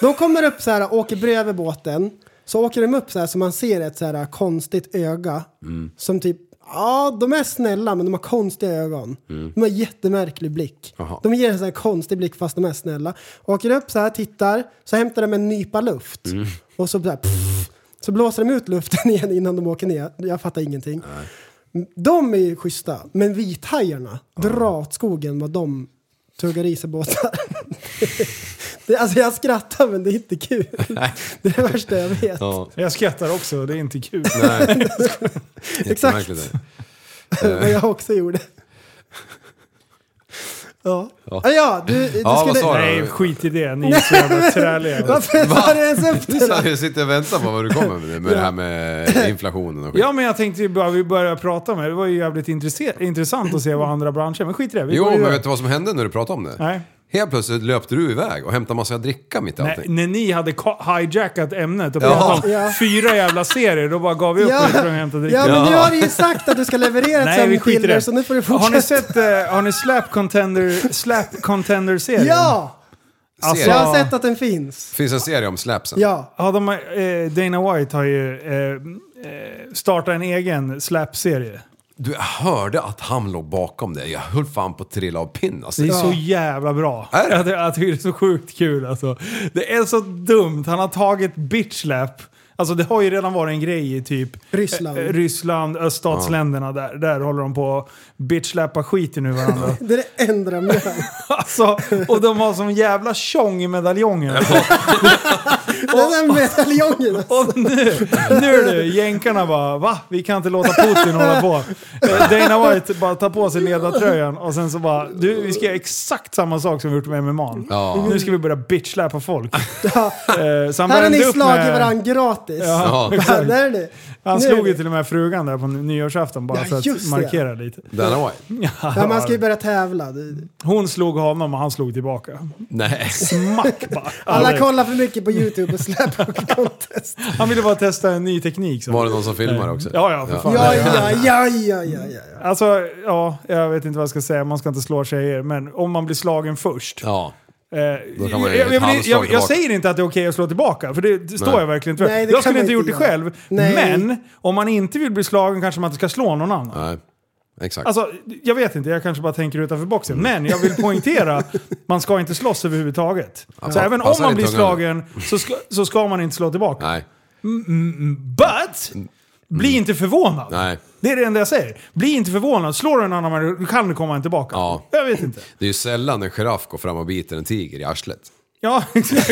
S7: De kommer upp så här, åker bredvid båten. Så åker de upp så här så man ser ett så här konstigt öga. Som typ, ja de är snälla men de har konstiga ögon. De har jättemärklig blick.
S6: Jaha.
S7: De ger en så här konstig blick fast de är snälla. Åker upp så här, tittar, så hämtar de en nypa luft. Och så, så här, pff, så blåser de ut luften [laughs] igen innan de åker ner. Jag fattar ingenting. De är ju schyssta, men vithajarna, dra åt skogen vad de tuggar i sig båtar. [laughs] det, alltså jag skrattar men det är inte kul. [laughs] Det är det värsta jag vet.
S6: Ja.
S4: Jag skrattar också, det är inte kul.
S6: Nej.
S7: Exakt.
S6: Jättemärkligt det.
S7: Vad jag också gjorde. Ja. Ja, ja du, du
S6: Ja, vad sa du?
S4: Nej, skit i det. Ni är så jävla träliga.
S7: Varför tar du ens upp det?
S6: Så jag sitter och väntar på vad du kommer med, med det här med
S4: [laughs]
S6: inflationen och skit.
S4: Ja men jag tänkte ju bara vi började prata med det. Det var ju jävligt intresse- intressant att se vad andra branscher... Men skit i det. Vi går
S6: Jo, men
S4: vidare.
S6: vet du vad som hände när du pratade om det?
S4: Nej.
S6: Helt plötsligt löpte du iväg och hämtade massa dricka mitt i
S4: Nej,
S6: allting.
S4: när ni hade ka- hijackat ämnet och
S6: Ja.
S4: pratat om
S6: Ja.
S4: fyra jävla serier, då bara gav vi upp
S7: Ja.
S4: och sprang och hämtade dricka.
S7: Ja, men nu har du ju sagt att du ska leverera ett
S4: Nej, vi
S7: sämre
S4: skiter i
S7: filmer
S4: det.
S7: så nu får du
S4: Har ni
S7: fortsätta.
S4: sett, eh, har ni Slap Contender, Slap Contender-serien?
S7: Ja!
S6: Alltså-
S7: jag har sett att den finns.
S6: Det finns en serie om slapsen.
S7: Ja.
S4: Ja, de har, eh, Dana White har ju eh, eh, startat en egen Slap-serie.
S6: Du, jag hörde att han låg bakom dig. Jag höll fan på att trilla av pinn alltså.
S4: Det är så jävla bra.
S6: Är
S4: Jag, ty-
S6: det?
S4: jag tycker det är så sjukt kul alltså. Det är så dumt. Han har tagit bitchlap. Alltså det har ju redan varit en grej i typ
S7: Ryssland.
S4: eh, Ryssland, öststatsländerna. Där, där håller de på att bitchlappa skiten ur
S6: [laughs]
S4: varandra.
S7: Det är det enda de gör.
S4: alltså, och de har som jävla tjong i medaljongen.
S7: Den där medaljongen
S4: [laughs]
S7: alltså.
S4: Och nu, nu du, jänkarna bara va? Vi kan inte låta Putin hålla på. Eh, Dana White bara tar på sig ledartröjan och sen så bara du, vi ska göra exakt samma sak som vi gjort med MMA.
S6: Ja.
S4: Nu ska vi börja bitchläpa folk.
S7: [laughs] Ja.
S4: Eh, så han
S7: Här har
S4: värmde
S7: ni
S4: upp
S7: slagit
S4: med-
S7: varandra gratis.
S4: Ja,
S6: Ja.
S4: [laughs]
S7: Fan,
S4: exakt.
S7: [laughs] där är ni.
S4: Han
S7: Nu är
S4: slog ju
S7: ni.
S4: till och med frugan där på nyårsafton bara
S7: Ja,
S4: för att
S7: just det.
S4: markera lite.
S6: Dana White?
S7: Ja, man ska ju börja tävla. Det-
S4: Hon slog honom och han slog tillbaka.
S6: Nej.
S4: Smack bara.
S7: [laughs] Alla
S4: Alltså,
S7: kollar för mycket på YouTube och släpper [laughs] contest.
S4: Han ville bara testa en ny teknik. Så.
S6: Var det någon som filmar också?
S4: Ja, ja, för fan.
S7: Ja, ja, ja, ja, ja, ja. ja.
S4: Alltså, ja, jag vet inte vad jag ska säga. Man ska inte slå tjejer, men om man blir slagen först.
S6: Ja.
S4: Eh,
S6: Då kan man
S4: jag,
S6: ju
S4: jag,
S6: ett
S4: jag,
S6: handslag
S4: jag, jag
S6: tillbaka.
S4: säger inte att det är okej att slå tillbaka, för det, det står
S6: Nej.
S4: jag verkligen inte för.
S7: Nej, det
S4: Jag
S7: kan
S4: skulle
S7: man
S4: inte gjort
S7: inte
S4: det
S7: göra.
S4: själv,
S7: Nej.
S4: men om man inte vill bli slagen kanske man inte ska slå någon annan.
S6: Nej. Exakt.
S4: Alltså, jag vet inte, jag kanske bara tänker utanför boxen. Men jag vill poängtera, man ska inte slåss överhuvudtaget. så
S6: pa-
S4: även om
S6: passar
S4: man
S6: i
S4: blir
S6: tungan.
S4: slagen så ska, så ska man inte slå tillbaka.
S6: Nej. Mm.
S4: But! Bli inte förvånad.
S6: Nej.
S4: Det är det enda jag säger. Bli inte förvånad. Slår du en annan människa kan du komma tillbaka.
S6: Ja.
S4: Jag vet inte.
S6: Det är ju sällan en giraff går fram och biter en tiger i arslet.
S4: Ja, [laughs] exakt.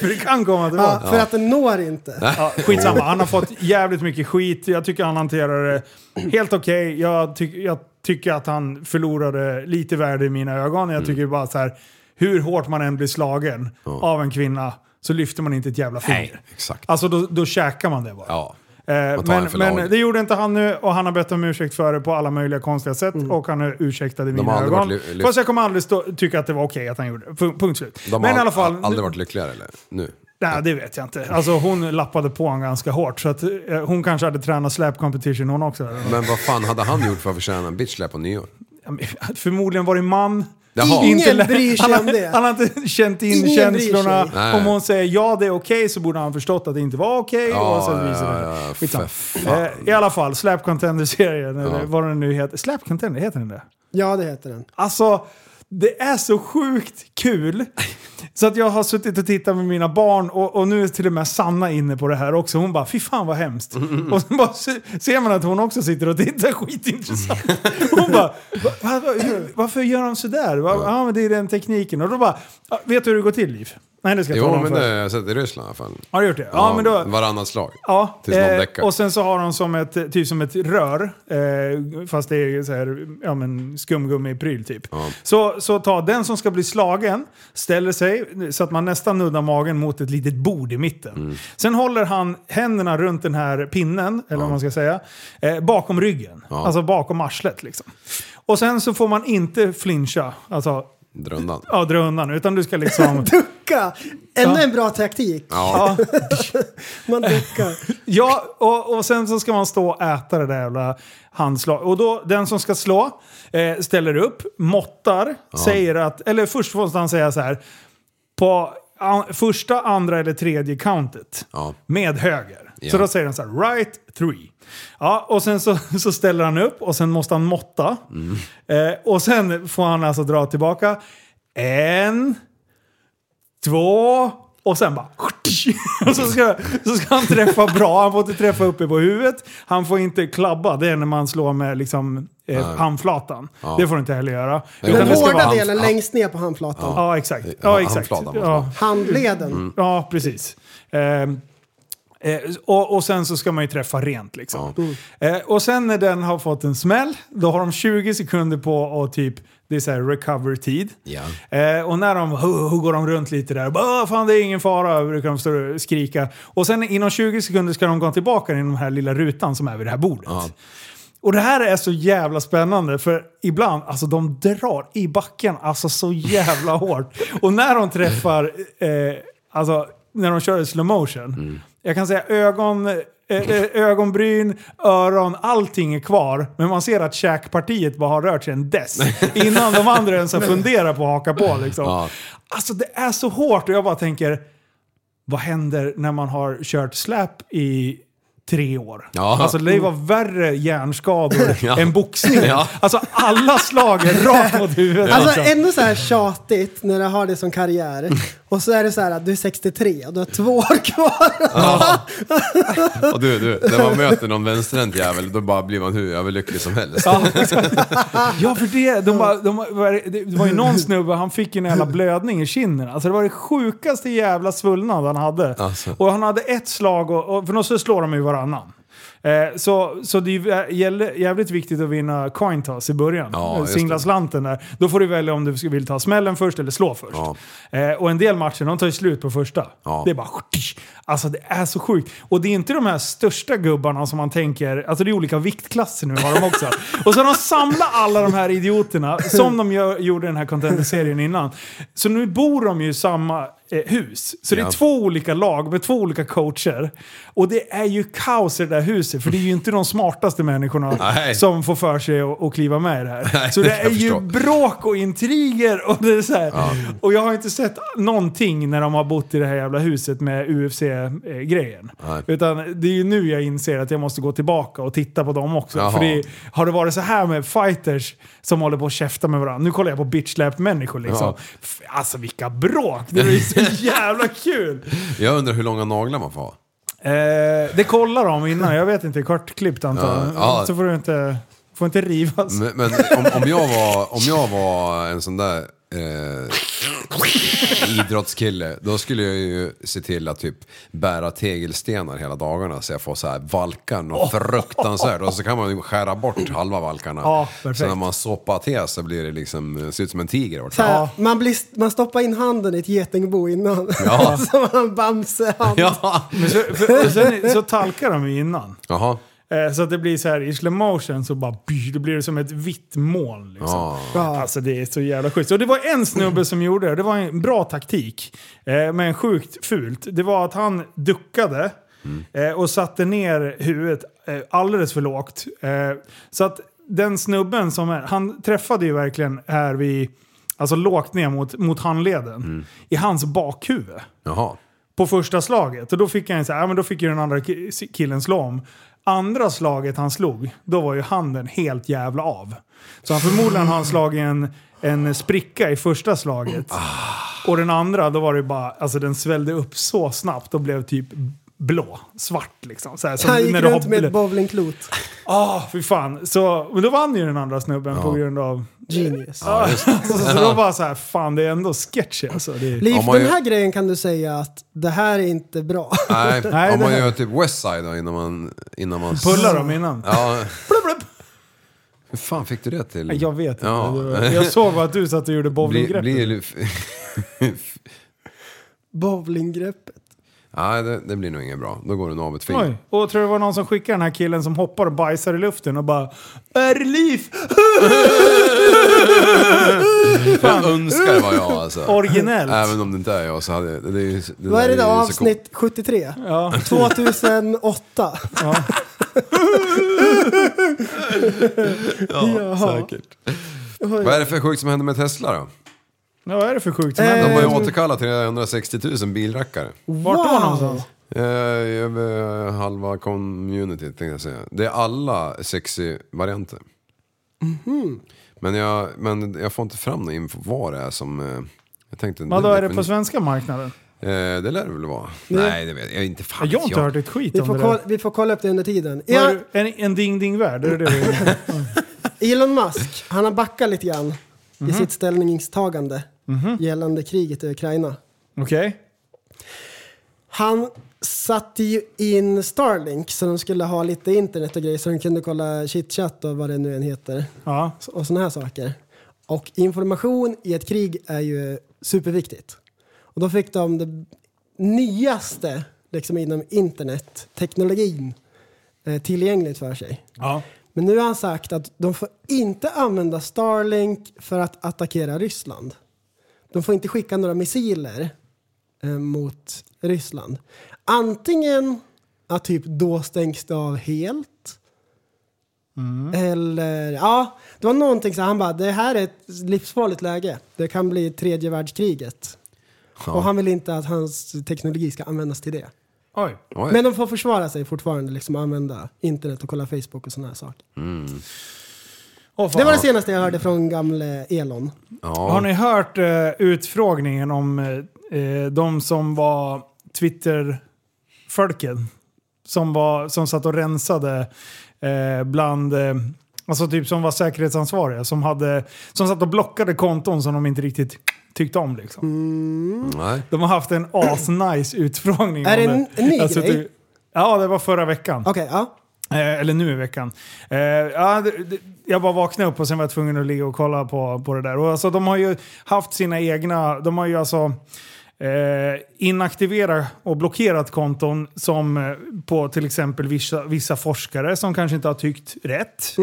S4: För det kan komma tillbaka.
S7: Ja, för att den når inte.
S4: Ja, skitsamma, han har fått jävligt mycket skit. Jag tycker han hanterar det helt okej. Jag, ty- jag tycker att han förlorade lite värde i mina ögon. Jag tycker bara så här, hur hårt man än blir slagen av en kvinna så lyfter man inte ett jävla finger.
S6: Exakt.
S4: Alltså då, då käkar man det bara.
S6: Ja.
S4: Eh,
S6: Man tar
S4: Men,
S6: en för
S4: men
S6: laget.
S4: det gjorde inte han nu och han har bett om ursäkt för det på alla möjliga konstiga sätt och han är ursäktad i mina
S6: Mm. aldrig
S4: ögon.
S6: varit ly- lyft-
S4: Fast jag kommer aldrig stå, tycka att det var okej att han gjorde det. Punkt, punkt slut.
S6: De
S4: men
S6: har
S4: i alla fall,
S6: aldrig varit lyckligare eller? Nu?
S4: Nej, det vet jag inte. Alltså hon lappade på honom ganska hårt. Så att, eh, hon kanske hade tränat slap competition hon också.
S6: Men vad fan hade han gjort för att förtjäna en bitch slap på nyår?
S4: Ja, men, Förmodligen var det man.
S6: Jaha.
S7: Ingen
S4: lä-
S7: bryr sig
S4: han, har-
S7: om det.
S4: Han har inte känt in
S7: Ingen
S4: känslorna.
S7: bryr
S6: sig.
S4: Om hon säger ja, det är okej, så borde han förstått att det inte var okej.
S6: Ja,
S4: och så
S6: ja,
S4: visar alltså, det.
S6: ja,
S4: Skitsamma.
S6: för fan.
S4: Eh, I alla fall, Slap Contender-serien, eller
S6: Ja.
S4: vad den nu heter. Slap Contender, heter den det?
S7: Ja, det heter den.
S4: Alltså, det är så sjukt kul. Så att jag har suttit och tittat med mina barn och, och nu är till och med Sanna inne på det här också. Hon bara, fy fan vad hemskt. Och så bara, se- ser man att hon också sitter och tittar, [laughs] skitintressant. Hon bara, va, va, va, hur- varför gör de sådär? Va, ja men det är den tekniken. Och då bara, "Ja, vet du hur det går till Liv? Nej det ska jag
S6: Jo,
S4: tala om
S6: men
S4: för.
S6: det har jag sett i Ryssland i alla fall.
S4: Har du gjort det? Ja, men då...
S6: Varannat slag.
S4: Ja,
S6: Tills någon
S4: eh,
S6: däckar.
S4: och sen så har de som ett, typ som ett rör, eh, fast det är så här, ja, men skumgummi-pryl typ. Så, så ta den som ska bli slagen, ställer sig så att man nästan nuddar magen mot ett litet bord i mitten.
S6: Mm.
S4: Sen håller han händerna runt den här pinnen, eller vad man ska säga, eh, bakom ryggen. Alltså bakom arslet liksom. Och sen så får man inte flincha, alltså
S6: Dra undan.
S4: ja, dra undan, utan du ska liksom...
S7: Ducka! Ännu en bra taktik.
S6: Ja.
S4: [laughs]
S7: Man duckar.
S4: Ja, och, och sen så ska man stå och äta det där jävla handslaget. Och då, den som ska slå eh, ställer upp, måttar, säger att... Eller först måste han säga så här. På an, första, andra eller tredje countet
S6: Ja.
S4: med höger. Så
S6: Ja.
S4: då säger han så här, right three. Ja, och sen så, [laughs] så ställer han upp och sen måste han måtta.
S6: Mm.
S4: Eh, och sen får han alltså dra tillbaka. En, två och sen bara... [laughs] Och så, ska, så ska han träffa bra. Han får inte träffa uppe på huvudet. Han får inte klabba. Det är när man slår med liksom, eh, handflatan. Det får du inte heller göra.
S6: Jo,
S7: Den
S6: men Eh, det ska
S7: hårda
S6: vara
S7: delen
S6: hand-
S7: längst ner på handflatan.
S4: Ja, exakt.
S6: Ja, Mm.
S4: Ja, exakt.
S6: handflatan måste
S4: Ja,
S6: man.
S7: Handleden.
S4: ja precis. Ehm, Eh, och, och sen så ska man ju träffa rent liksom. Eh, och sen när den har fått en smäll, då har de 20 sekunder på att typ, det är så här recover-tid. Eh, och när de hu- hu- går de runt lite där och bara "Åh, fan det är ingen fara, brukar de stå och skrika. Och sen inom 20 sekunder ska de gå tillbaka in i den här lilla rutan som är vid det här bordet. Och det här är så jävla spännande för ibland, alltså de drar i backen alltså så jävla hårt. Och när de träffar, eh, alltså när de kör i slow motion. Jag kan säga ögon, eh, eh, ögonbryn, öron, allting är kvar. Men man ser att käkpartiet bara har rört sig en dess. Innan de andra ens har funderat på att haka på liksom. Alltså det är så hårt och jag bara tänker, vad händer när man har kört släp i tre år?
S6: Ja.
S4: Alltså det var värre hjärnskador
S6: [laughs] Ja.
S4: än boxning.
S6: Ja.
S4: Alltså alla slag är rakt mot huvudet.
S7: Alltså
S4: liksom.
S7: ändå så här tjatigt när du har det som karriär
S4: Mm.
S7: och så är det så här att du är 63 och du har två år kvar.
S6: Och du, du, när man möter någon vänsterhänt jävel, då bara blir man hur överlycklig som helst.
S4: Ja, ja, för det, de bara, de var, det var ju någon snubbe, han fick ju en jävla blödning i kinden. Alltså det var det sjukaste jävla svullnad han hade.
S6: Alltså.
S4: Och han hade ett slag, och, och, för så slår de ju varannan. Eh, så, så det är ju jä- gäll- jävligt viktigt att vinna coin toss i början.
S6: Ja,
S4: Ja,
S6: just
S4: Singla
S6: det.
S4: slanten där. Då får du välja om du ska- vill ta smällen först eller slå först.
S6: Ja.
S4: Eh, och en del matcher, de tar ju slut på första.
S6: Ja.
S4: Det är bara... Alltså det är så sjukt. Och det är inte de här största gubbarna som man tänker... Alltså det är olika viktklasser nu har de
S6: [laughs]
S4: också. och så har de samlat alla de här idioterna, som de gör, gjorde i den här Contender-serien innan. Så nu bor de ju i samma eh, hus. Så det är
S6: Ja.
S4: två olika lag med två olika coacher. Och det är ju kaos i det där huset, för det är ju inte de smartaste människorna
S6: Nej.
S4: som får för sig att, att kliva med i det här.
S6: Nej,
S4: så det
S6: jag
S4: är ju
S6: förstår.
S4: bråk och intriger och det är så här. Och jag har inte sett någonting när de har bott i det här jävla huset med UFC-grejen.
S6: Nej.
S4: Utan det är ju nu jag inser att jag måste gå tillbaka och titta på dem också.
S6: Jaha.
S4: För det är, har det varit så här med fighters som håller på att käfta med varandra. Nu kollar jag på bitchlap-människor liksom.
S6: Ja.
S4: F- Alltså vilka bråk! Det är ju
S6: [laughs]
S4: så jävla kul!
S6: Jag undrar hur långa naglar man får ha.
S4: Eh, det kollar de innan. Jag vet inte, kortklippt antagligen.
S6: Ja, ja.
S4: Så får du inte, får inte rivas.
S6: Men, men om, om, jag var, om jag var en sån där eh, idrottskille, då skulle jag ju se till att typ bära tegelstenar hela dagarna så jag får så här valkan och fruktansvärt. Och så kan man ju skära bort halva valkarna.
S4: Ja, perfekt.
S6: så när man soppar till så blir det liksom, ser ut som en tiger. i vart
S7: Så
S6: fall.
S7: här, man, blir, man stoppar in handen i ett getingbo innan. [laughs]
S6: Ja.
S7: Som en Bamse-hand.
S6: Ja.
S4: Men så, [laughs] för, och sen, så talkar de ju innan.
S6: Jaha.
S4: Eh, Så att det blir så här i slow motion så bara by, då blir det som ett vitt moln. Liksom.
S6: Ja.
S4: Alltså det är så jävla schysst. Och det var en snubbe som gjorde det. Det var en bra taktik. eh, Men sjukt fult. Det var att han duckade eh, och satte ner huvudet eh, alldeles för lågt. Eh, Så att den snubben som är, han träffade ju verkligen här vid, alltså lågt ner mot, mot handleden. I hans bakhuvud
S6: Jaha.
S4: på första slaget. Och då fick han så här, ja, men då fick ju den andra ki- killen slå om. Andra slaget han slog, då var ju handen helt jävla av. Så han förmodligen har han slagit en, en spricka i första slaget. Och den andra, då var det bara, alltså den svällde upp så snabbt och blev typ blå, svart liksom. Så här, som
S7: Han gick
S4: när du har
S7: runt med
S4: blö-
S7: ett bowlingklot.
S4: Ah, fy fan. Så, men då vann ju den andra snubben på grund av... [laughs]
S7: Genius.
S4: Så, så då var så här, fan det är ändå sketchy alltså. Det är...
S7: Liv,
S6: Om man
S7: den
S6: ju-
S7: här grejen kan du säga att det här är inte bra.
S6: Nej,
S4: Nej,
S6: om
S4: det
S6: man
S4: här-
S6: gör typ Westside då innan man... Innan man
S4: Pullar dem innan.
S6: Ja. Hur fan fick du det till?
S4: Jag vet inte.
S6: Ja.
S4: Det var- Jag såg bara att du satt och gjorde
S6: Blir,
S4: bowlinggreppet.
S6: blir, ju-
S7: [laughs]
S6: [laughs]
S7: Bowlinggreppet.
S6: Nej, det, det blir nog inget bra. Då går den av ett finger.
S4: Oj. Och tror det var någon som skickade den här killen som hoppar och bajsar i luften och bara Är liv!
S6: [laughs] Jag önskar det var jag alltså.
S4: Originellt.
S6: Även om det inte är jag så hade det, det, är ju- det
S7: Vad är det
S6: där
S7: då?
S6: ju så
S7: Avsnitt 73?
S4: Ja.
S7: 2008?
S6: coolt. Ja,
S7: Jaha.
S6: säkert. Vad är det för sjukt som händer med Tesla då?
S4: Ja, vad är det för sjukt som
S7: Eh,
S6: De
S4: händer?
S6: har ju återkallat 360 000 bilrackare.
S4: Vart då någonstans?
S6: Eh, Över halva communityt tänkte jag säga. Det är alla sexy varianter. Men, jag, men jag får inte fram någon info vad det är som... eh, Jag tänkte,
S4: Vadå är det på
S6: men-
S4: svenska marknaden?
S6: Eh, det lär det väl vara. Nej, det vet jag inte. Fan,
S4: Jag har inte
S6: jag.
S4: hört ett skit
S7: Vi
S4: om
S7: får,
S4: det där.
S7: kolla, vi får kolla upp det under tiden.
S4: Vad är
S7: Ja,
S4: du- En, en ding-ding-värld, är det det du är?
S7: [laughs] Elon Musk, han har backat lite grann
S4: Mhm.
S7: i sitt ställningstagande gällande kriget i Ukraina.
S4: Okej?
S7: Han satte ju in Starlink så de skulle ha lite internet och grejer så de kunde kolla chitchat och vad det nu än heter. Så- Och sådana här saker. Och information i ett krig är ju superviktigt. Och då fick de det nyaste liksom inom internetteknologin eh, tillgängligt för sig.
S4: Ja.
S7: Men nu har han sagt att de får inte använda Starlink för att attackera Ryssland. De får inte skicka några missiler eh, mot Ryssland. Antingen att typ då stängs det av helt. Eller, ja, det var någonting så han bara, det här är ett livsfarligt läge. Det kan bli tredje världskriget. Och han vill inte att hans teknologi ska användas till det.
S4: Oj.
S7: Men de får försvara sig fortfarande, liksom använda internet och kolla Facebook och sådana här saker.
S4: Mm. Åh,
S7: Det var
S4: fan.
S7: det senaste jag hörde från gamle Elon.
S4: Har ni hört eh, utfrågningen om eh, eh, de som var Twitter-folken? Som, var, som satt och rensade eh, bland, eh, alltså typ som var säkerhetsansvariga. Som, hade, som satt och blockade konton som de inte riktigt tyckte om liksom.
S6: Nej.
S4: De har haft en asnice utfrågning.
S7: Är det
S4: om
S7: en- en ny
S4: Alltså,
S7: grej?
S4: typ- Ja, det var förra veckan.
S7: Okej, ja.
S4: Eh, eller nu i veckan. Eh, ja, det, det, jag bara vaknade upp och sen var jag tvungen att ligga och kolla på, på det där. Och alltså, de har ju haft sina egna, de har ju alltså eh, inaktiverat och blockerat konton som eh, på till exempel vissa, vissa forskare som kanske inte har tyckt rätt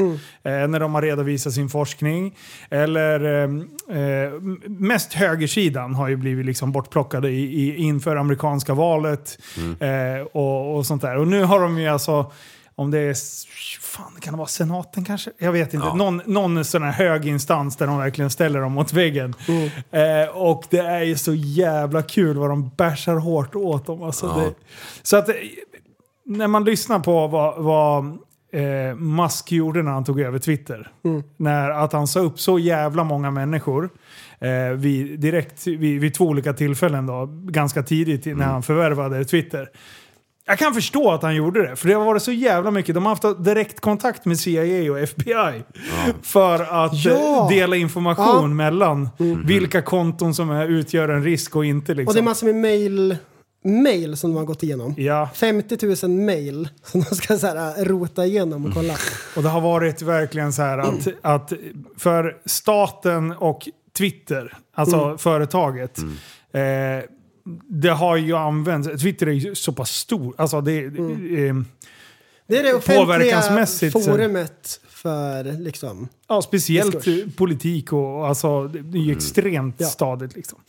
S4: eh, när de har redovisat sin forskning. Eller eh, eh, mest högersidan har ju blivit liksom bortplockade i, i, inför amerikanska valet eh, och, och sånt där. Och nu har de ju alltså om det är, fan kan det vara senaten kanske? Jag vet inte. Någon, någon sån här hög instans där de verkligen ställer dem mot väggen. Eh, och det är ju så jävla kul vad de bärsar hårt åt dem. Alltså
S6: Ja.
S4: det, så att eh, när man lyssnar på vad, vad eh, Musk gjorde när han tog över Twitter. När, att han sa upp så jävla många människor eh, vid, direkt vid, vid två olika tillfällen då, ganska tidigt när han förvärvade Twitter. Jag kan förstå att han gjorde det, för det har varit så jävla mycket. De har haft direktkontakt med CIA och FBI för att eh,
S7: Ja.
S4: dela information
S7: Ja. Mm.
S4: mellan vilka konton som är, utgör en risk och inte. Liksom.
S7: Och det är massor med mail, mail som de har gått igenom.
S4: ja.
S7: 50 000 mail som de ska så här, äh, rota igenom och kolla.
S4: Och det har varit verkligen så här att, att för staten och Twitter, alltså
S7: Mm.
S4: företaget, eh, det har ju använts. Twitter är ju så pass stor. Alltså det,
S7: Mm.
S4: eh,
S7: Det är det offentliga
S4: Påverkansmässigt så-
S7: forumet för liksom...
S4: Ja, speciellt
S7: Diskurs.
S4: eh, politik och och alltså, det det är ju
S6: Mm.
S4: extremt
S7: Ja.
S4: stadigt. Liksom.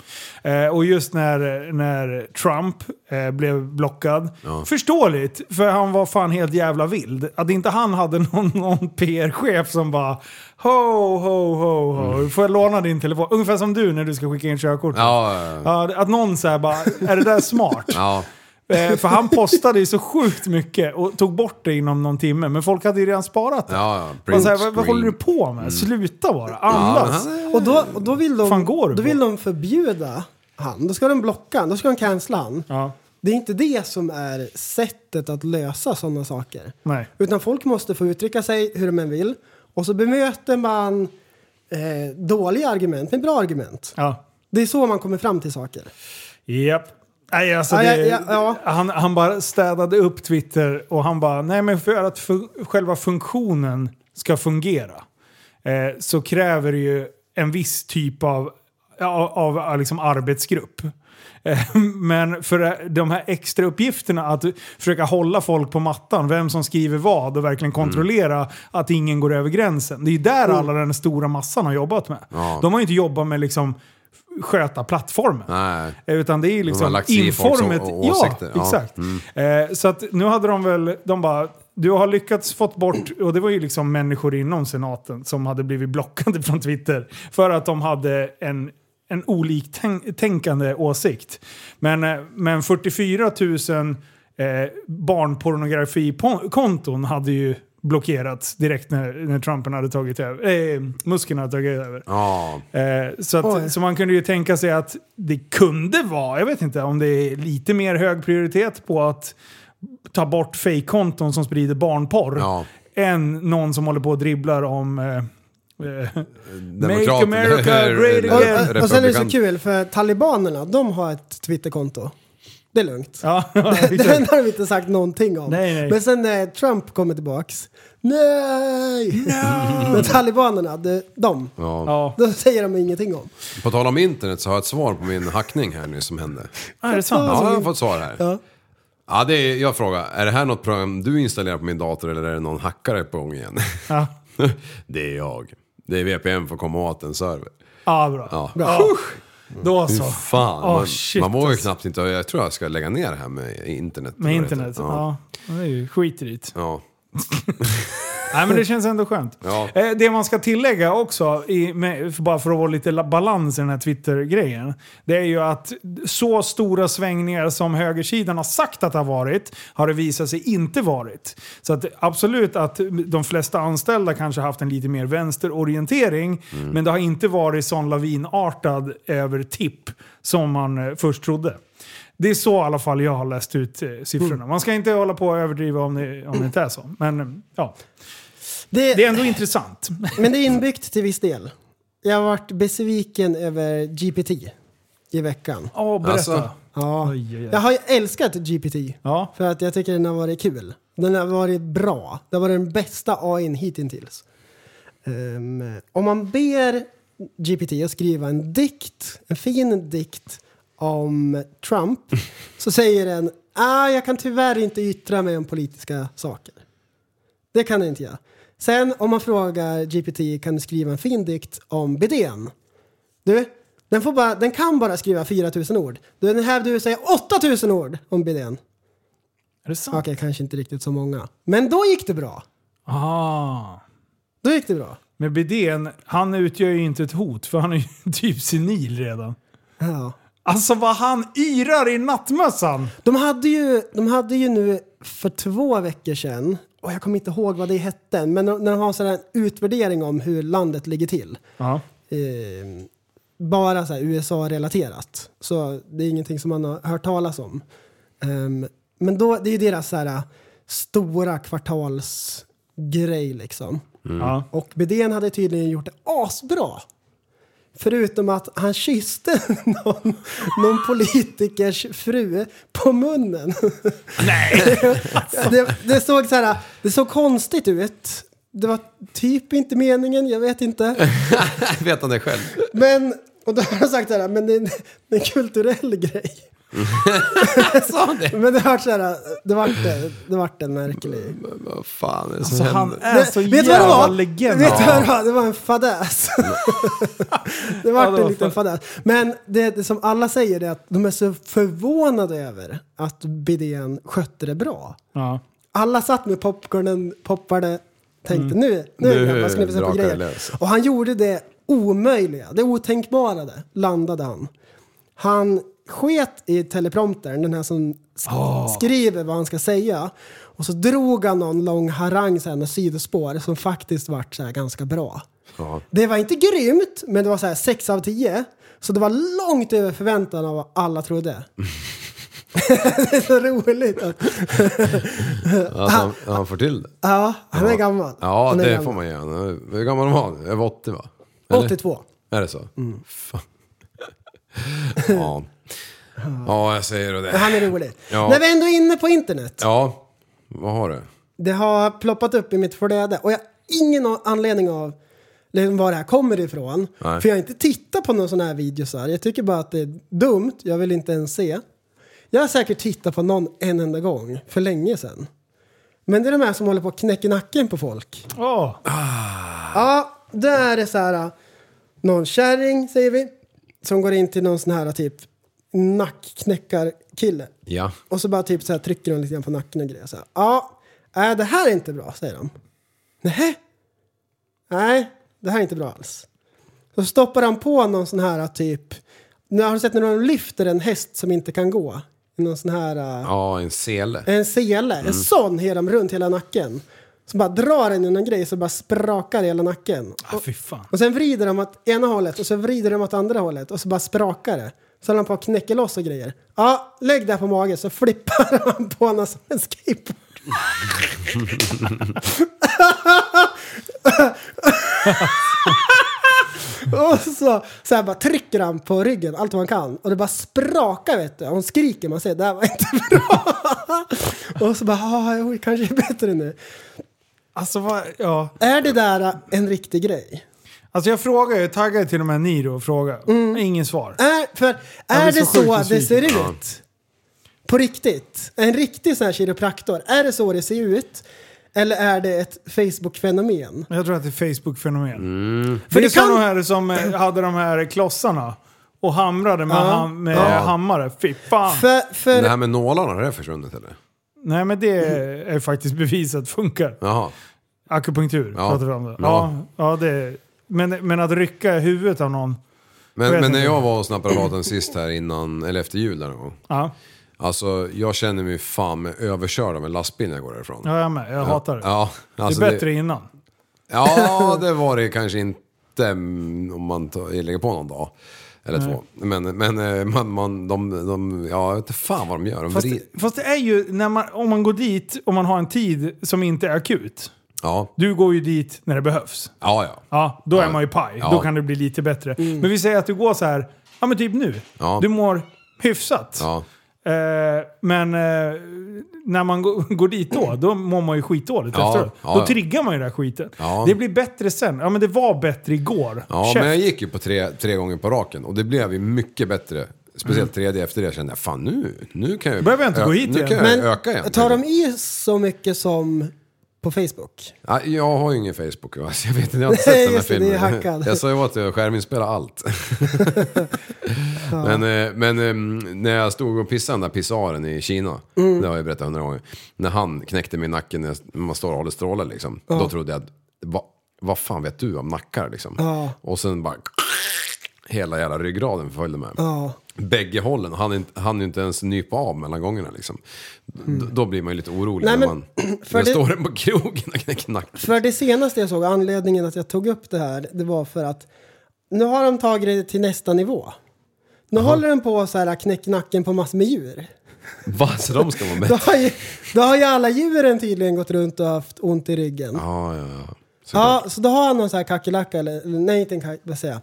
S4: Eh, och just när, när Trump eh, blev blockad, förståeligt, för han var fan helt jävla vild. Att inte han hade [laughs] någon, någon PR-chef som bara ho, ho, ho, ho, får jag låna din telefon? Ungefär som du när du ska skicka in körkortet.
S6: Mm. Ja, ja, ja.
S4: Ja, att någon säger bara, är det där smart?
S6: ja.
S4: Eh, för han postade ju så sjukt mycket och tog bort det inom någon timme, men folk hade ju redan sparat det.
S6: Ja, ja.
S4: Man
S6: Print
S4: säger, vad, vad
S6: screen.
S4: håller du på med? Sluta bara. Andas.
S7: Och då, och då vill de,
S4: Fan, går det
S7: då
S4: på?
S7: vill de förbjuda han. Då ska de blocka han. Då ska de cancella han.
S4: Ja.
S7: Det är inte det som är sättet att lösa sådana saker.
S4: Nej.
S7: Utan folk måste få uttrycka sig hur de än vill. Och så bemöter man eh, dåliga argument med bra argument.
S4: Ja.
S7: Det är så man kommer fram till saker.
S4: Japp. Nej, alltså
S7: Ja,
S4: det,
S7: ja, ja,
S4: Han, han bara städade upp Twitter och han bara, nej men för att fun- själva funktionen ska fungera eh, så kräver det ju en viss typ av, av, av, av liksom arbetsgrupp. [laughs] Eh, Men för eh, de här extra uppgifterna att försöka hålla folk på mattan, vem som skriver vad och verkligen
S6: Mm.
S4: kontrollera att ingen går över gränsen. Det är ju där alla den stora massan har jobbat med.
S6: Ja.
S4: De har ju inte jobbat med liksom sköta plattformen.
S6: Nej.
S4: Utan det är ju
S6: De har
S4: liksom
S6: lagt sig i folks
S4: informet.
S6: å- å-
S4: Ja,
S6: åsikter. Ja. Mm.
S4: exakt. Eh, så att nu hade de väl, de bara, du har lyckats fått bort, och det var ju liksom människor inom senaten som hade blivit blockade från Twitter för att de hade en en oliktänkande åsikt. Men, eh, men 44 000 eh, barnpornografikonton hade ju blockerats direkt när, när Trumpen hade tagit över. Eh, Musken hade tagit över.
S6: Ja.
S4: Eh, så,
S7: Oj.
S4: att, så man kunde ju tänka sig att det kunde vara, jag vet inte om det är lite mer hög prioritet på att ta bort fejkkonton som sprider barnporr
S6: Ja.
S4: än någon som håller på och dribblar om eh, eh, [laughs] Make
S6: Demokrater- [laughs]
S4: America great
S6: eller-
S4: again.
S7: Och, och sen är det så
S6: Republikan.
S7: kul för talibanerna, de har ett Twitterkonto. Det är lugnt.
S6: [laughs]
S4: Ja,
S7: [laughs] Den har de inte sagt någonting om.
S4: Nej, nej.
S7: Men sen när Trump kommer tillbaks. Nej! Men talibanerna, de, de,
S6: Ja.
S7: de säger de ingenting om.
S6: På tal om internet så har jag ett svar på min hackning här nu som hände.
S4: Ah,
S7: är det sant?
S6: Ja, jag har fått svar här.
S7: Ja.
S6: Ja. det är, jag frågar, är det här något program du installerar på min dator eller är det någon hackare på gång igen?
S4: Ja.
S6: [laughs] det är jag. Det är VPN för att komma åt en server.
S4: Ja, bra.
S6: Ja.
S4: bra. Då
S6: Hur
S4: så.
S6: fan,
S4: Ah,
S6: man,
S4: shit,
S6: man vågar ju
S4: alltså.
S6: knappt inte, jag tror jag ska lägga ner det här med internet.
S4: Med
S6: Vad heter
S4: internet.
S6: det?
S4: Ja. Det är ju skit i det.
S6: Ja.
S4: Nej, men det känns ändå skönt.
S6: Ja.
S4: Eh, Det man ska tillägga också, i, med, för- bara för att vara lite la- balans i den här Twitter-grejen, det är ju att så stora svängningar som högersidan har sagt att det har varit, har det visat sig inte varit. Så att, absolut att de flesta anställda kanske haft en lite mer vänsterorientering, men det har inte varit sån lavinartad över tipp som man eh, först trodde. Det är så i alla fall jag har läst ut eh, siffrorna. Man ska inte hålla på och överdriva om det, om det inte är så. Men eh, ja,
S7: Det,
S4: det är ändå intressant.
S7: Men det är inbyggt till viss del. Jag har varit besviken över GPT i veckan.
S4: Ja, berätta.
S6: Alltså. [laughs]
S7: Ja.
S4: Oj, oj, oj.
S7: Jag har ju älskat GPT
S4: Ja.
S7: för att jag tycker den har varit kul. Den har varit bra. Det har varit den bästa AIn hittills. Um, om man ber GPT att skriva en dikt, en fin dikt om
S4: [laughs]
S7: Trump så säger den ah, jag kan tyvärr inte yttra mig om politiska saker. Det kan den inte göra. Sen om man frågar GPT kan du skriva en fin dikt om bidén? Du, den, får bara, den kan bara skriva 4000 ord. Du, Den här du säger 8000 ord om bidén.
S4: Är det
S7: Okej,
S4: sant?
S7: kanske inte riktigt så många. Men då gick det bra.
S4: Ah.
S7: Då gick det bra.
S4: Men Bidén, han utgör ju inte ett hot för han är ju [laughs] typ senil redan.
S7: Ja.
S4: Alltså vad han yrar i nattmössan!
S7: De hade, ju, de hade ju nu för två veckor sedan, och jag kommer inte ihåg vad det hette, än, men när de har sån här utvärdering om hur landet ligger till.
S4: Ja.
S7: eh, bara så här USA-relaterat. Så det är ingenting som man har hört talas om. Ehm, men då, det är ju deras så här, äh, stora kvartalsgrej liksom.
S4: Ja.
S7: Och Bedén hade tydligen gjort det asbra. Förutom att han kysste [laughs] någon, någon politikers fru på munnen. Nej! [laughs] det, det, såg så här, det såg konstigt ut. Det var typ inte meningen, jag vet inte.
S6: Vet han det själv?
S7: Men, och då har de sagt så här, men det är en, det är en kulturell grej.
S6: [laughs] Sa han det?
S7: Men det vart så här, det vart, det vart en märklig...
S6: Vad fan är det som
S4: Så Alltså, han
S6: händer?
S4: är så
S7: Men vet du vad det
S4: jävla
S7: var?
S4: legend.
S7: Vet du
S4: Ja.
S7: vad det var? Det var
S4: [laughs]
S7: en fadäs. det vart
S4: Ja, det var
S7: en liten
S4: fa-
S7: fadäs. Men det, det som alla säger är att de är så förvånade över att Bidén skötte det bra.
S4: Ja.
S7: Alla satt med popcornen, poppade, tänkte nu, nu är det
S6: Mm. Nu
S7: grabbar, ska ni visa på
S6: drakar det
S7: grejer.
S6: lös.
S7: Och han gjorde det omöjliga, det otänkbara där, landade han. Han sket i telepromptern, den här som sk-
S6: Ah.
S7: skriver vad han ska säga. Och så drog han någon lång harang, så här, något sidospår, som faktiskt vart så här ganska bra. Det var inte grymt, men det var så här 6 av 10. Så det var långt över förväntan av vad
S6: [laughs]
S7: alla trodde. [laughs] det är så roligt. Att,
S6: Att han, han får till det?
S7: ja, han är gammal.
S6: Ja,
S7: han är
S6: det
S7: gammal.
S6: får man göra. Hur gammal var han? Över 80 va? Eller?
S7: 82.
S6: Är det så? Fan. [laughs] ja. ja, jag säger det.
S7: Han är rolig.
S6: Ja.
S7: När vi ändå är inne på internet.
S6: Ja, vad har du?
S7: Det har ploppat upp i mitt flöde och jag har ingen a- anledning av liksom var det här kommer ifrån.
S6: Nej.
S7: För jag har inte tittat på någon sån här videos här. Jag tycker bara att det är dumt. Jag vill inte ens se. Jag har säkert tittat på någon en enda gång för länge sedan. Men det är de här som håller på och knäcker nacken på folk.
S4: Åh.
S7: Ja, då är det så här. äh, Någon kärring säger vi. Som går in till någon sån här typ nackknäckarkille.
S6: Ja.
S7: Och så bara typ så här trycker de lite grann på nacken och grejer. Så här, ja, nej det här är inte bra, säger de. Nej, nej, det här är inte bra alls. Så stoppar han på någon sån här typ, nu har du sett när de lyfter en häst som inte kan gå? Någon sån här, eh,
S6: Ja, en sele.
S7: en sele, en sån hela dem runt hela nacken. Så bara drar den i någon grej så bara sprakar hela nacken.
S4: Ah, fy fan.
S7: Och sen vrider de åt ena hållet och så vrider de åt andra hållet och så bara sprakar det. Så håller han på att knäcka loss och grejer. Ja, lägg det här på magen så flippar [laughs] han på honom som en skateboard. [laughs] Och så, så här bara trycker han på ryggen allt vad han kan. Och det bara sprakar vet du. Hon skriker, man säger det här var inte [laughs] bra. och så bara, "Ah, oj, kanske är bättre nu.
S4: Alltså vad, ja.
S7: Är det där äh, en riktig grej?
S4: Alltså jag frågar ju, taggar till och med Niro och frågar. Ingen svar.
S7: Är, för,
S4: blir
S7: är
S4: så
S7: det så,
S4: sjukt
S7: det
S4: besviken.
S7: ser ut?
S4: Ja.
S7: På riktigt? En riktig sån här kiropraktor, är det så det ser ut? Eller är det ett Facebook-fenomen?
S4: Jag tror att det är Facebook-fenomen.
S7: För
S4: För det
S7: det
S4: är
S7: kan-
S4: sådana här som eh, hade de här klossarna och hamrade med,
S7: Ja.
S4: ham, med
S6: Ja.
S4: hammare. Fy fan.
S7: För,
S6: Det här med nålarna, har det försvunnit eller?
S4: Nej men det
S6: Mm.
S4: är faktiskt bevisat funkar.
S6: Jaha.
S4: Akupunktur
S6: Ja.
S4: pratar vi om det.
S6: Ja.
S4: Ja. Ja, det men, men att rycka i huvudet av någon.
S6: Men,
S4: vet
S6: men när
S4: inte.
S6: jag var och snappade raden sist här innan, eller efter jul där någon gång.
S4: Ja,
S6: Alltså jag känner mig fan med överkörd av en lastbil när jag går därifrån.
S4: ja jag med. Jag hatar det.
S6: Ja, alltså
S4: det är bättre innan.
S6: Ja, det var det kanske inte mm, om man tar- lägger på någon dag. Eller
S4: Nej.
S6: två. Men, men eh, man, man, de, de, ja, jag vet inte fan vad de gör. De
S4: Fast,
S6: vri-
S4: fast det är ju, när man, om man går dit och man har en tid som inte är akut.
S6: Ja,
S4: Du går ju dit när det behövs.
S6: ja, ja.
S4: Ja, då
S6: Ja.
S4: är man ju paj.
S6: Ja. Mm.
S4: Då kan det bli lite bättre. Men vi säger att du går så här, ja men typ nu.
S6: Ja.
S4: Du mår hyfsat.
S6: ja.
S4: Eh, men eh, när man går, [laughs] går dit då, då mår man ju skitdåligt
S6: Ja,
S4: efteråt.
S6: ja, ja.
S4: Då triggar man ju den här skiten.
S6: Ja.
S4: Det blir bättre sen. Ja men det var bättre igår.
S6: Ja,
S4: Käft.
S6: men jag gick ju på tre, tre gånger på raken och det blev ju mycket bättre. Speciellt tredje efter det kände jag, fan nu, nu kan jag
S4: Mm. Behöver jag inte
S6: ö-
S4: gå hit
S6: nu
S4: igen.
S6: kan jag
S7: Men
S6: öka igen.
S7: tar de i så mycket som på Facebook?
S6: ja, jag har ju ingen Facebook, va, [laughs] så jag vet inte, jag har inte sett den här
S7: Just det, det
S6: filmen.
S7: är hackad.
S6: Jag sa ju åt dig att skärminspela
S7: [laughs]
S6: allt. Men, eh, men eh, när jag stod och pissade den där pissaren i Kina,
S7: Mm.
S6: det har jag berättat hundra gånger. När han knäckte min nacke när jag- när man står och håller strålar liksom. Då trodde jag, vad, vad fan vet du om nackar liksom?
S7: Ja.
S6: Och sen bara... Hela jävla ryggraden följde med
S7: Ja.
S6: bägge hållen. Han är inte- han är ju inte ens nypa av mellan gångerna liksom. D- Då blir man ju lite orolig
S7: Mm. Nej,
S6: när
S7: men-
S6: man
S7: [clears throat] för
S6: när
S7: det-
S6: står den på krogen [laughs] och knäcker nacken.
S7: För det senaste jag såg, anledningen att jag tog upp det här, det var för att nu har de tagit det till nästa nivå. Nu håller de på så här knäck nacken på massor med djur.
S6: Va, så de ska vara med?
S7: Då har, ju, då har ju alla djuren tydligen gått runt och haft ont i ryggen. [laughs] Ja,
S6: Ja, ja, ja. Så
S7: så då har han någon så här kackerlacka, eller eller nej inte en kackerlacka, vad säger jag?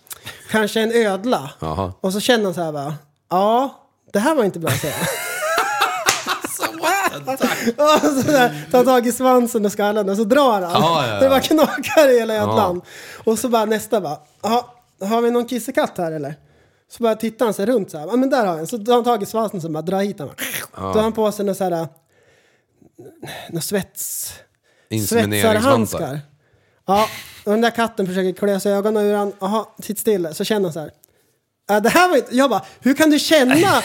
S7: Kanske en ödla.
S6: Jaha.
S7: Och så känner han så här bara, ja, det här var inte bra säger han.
S6: [laughs]
S7: [laughs] Och så där, tar tag i svansen och skallen och så drar han.
S6: Ja, ja, ja.
S7: Det bara knakar i hela ödlan. Och så bara nästa bara. "Ja, Har vi någon kissekatt här eller? Så bara tittar han sig runt så här. Ja men där har vi en. Så tar han tag i svansen och bara drar hit den. Då har han på sig någon så här. Någon svets... Svetsarhandskar.
S6: Insemineringsvantar.
S7: Ja, och den där katten försöker klä sig i ögonen ur han. Jaha, sitt still. Så känner han så här. "Ja, Det här var inte... Jag bara, hur kan
S6: [laughs]
S7: du känna genom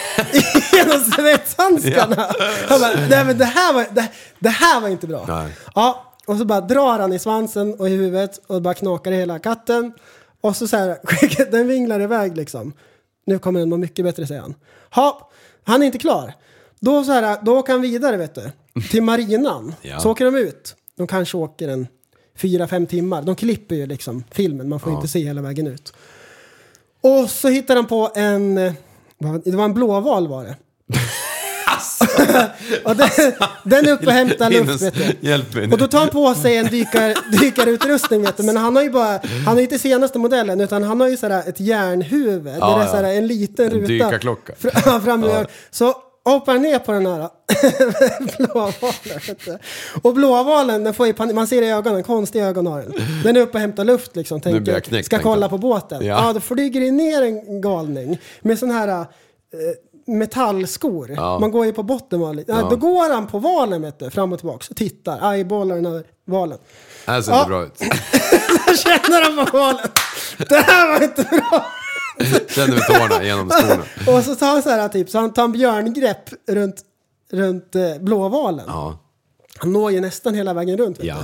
S7: svetshandskarna? Han bara, nej men det här var, det, det här var inte bra.
S6: Nej.
S7: Ja, och så bara drar han i svansen och i huvudet och bara knakar i hela katten. Och så så här, [laughs] skickar- den vinglar iväg liksom. Nu kommer den må mycket bättre säger han. Ha, han är inte klar. Då, så här, då åker han vidare vet du, till marinan.
S6: Ja.
S7: Så åker de ut. De kanske åker en fyra, fem timmar. De klipper ju liksom filmen, man får inte se hela vägen ut. Och så hittar han på en, eh, vad- det var en blåval var det. [laughs] och den, den är uppe
S6: [laughs]
S7: och hämtar luft
S6: Linus,
S7: vet du.
S6: Hjälp mig nu.
S7: Och då tar han på sig en
S6: [laughs]
S7: dykar, dykarutrustning vet du. Men han har ju bara, han är inte senaste modellen utan han har ju sådär ett järnhuvud.
S6: Ja,
S7: där det är
S6: ja.
S7: sådär en liten
S6: En
S7: ruta.
S6: dykarklocka.
S7: Fr- fram och gör. Så hoppar han ner på den här [laughs] blåvalen. vet du. Och blåvalen, den får ju panik. Man ser i ögonen, konstiga ögon har den. Den är uppe och hämtar luft liksom.
S6: blir
S7: Tänker,
S6: jag knäckt,
S7: ska
S6: tänkte
S7: kolla
S6: han.
S7: på båten. Ja.
S6: Ja.
S7: då flyger det ner en galning med sån här eh, metallskor.
S6: Ja.
S7: Man går ju på botten vanligt. Ja.
S6: Ja.
S7: Då går han på valen vet du, fram och tillbaka och tittar, eyeballar den här valen.
S6: det här ser
S7: Ja.
S6: inte bra ut. [laughs]
S7: Då känner han på valen. Det här var inte bra.
S6: Känner vi tårna genom skorna.
S7: Och så tar han så här typ, så han tar en björngrepp runt, runt eh, blåvalen.
S6: Ja.
S7: Han når ju nästan hela vägen runt. Vet
S6: Ja.
S7: du.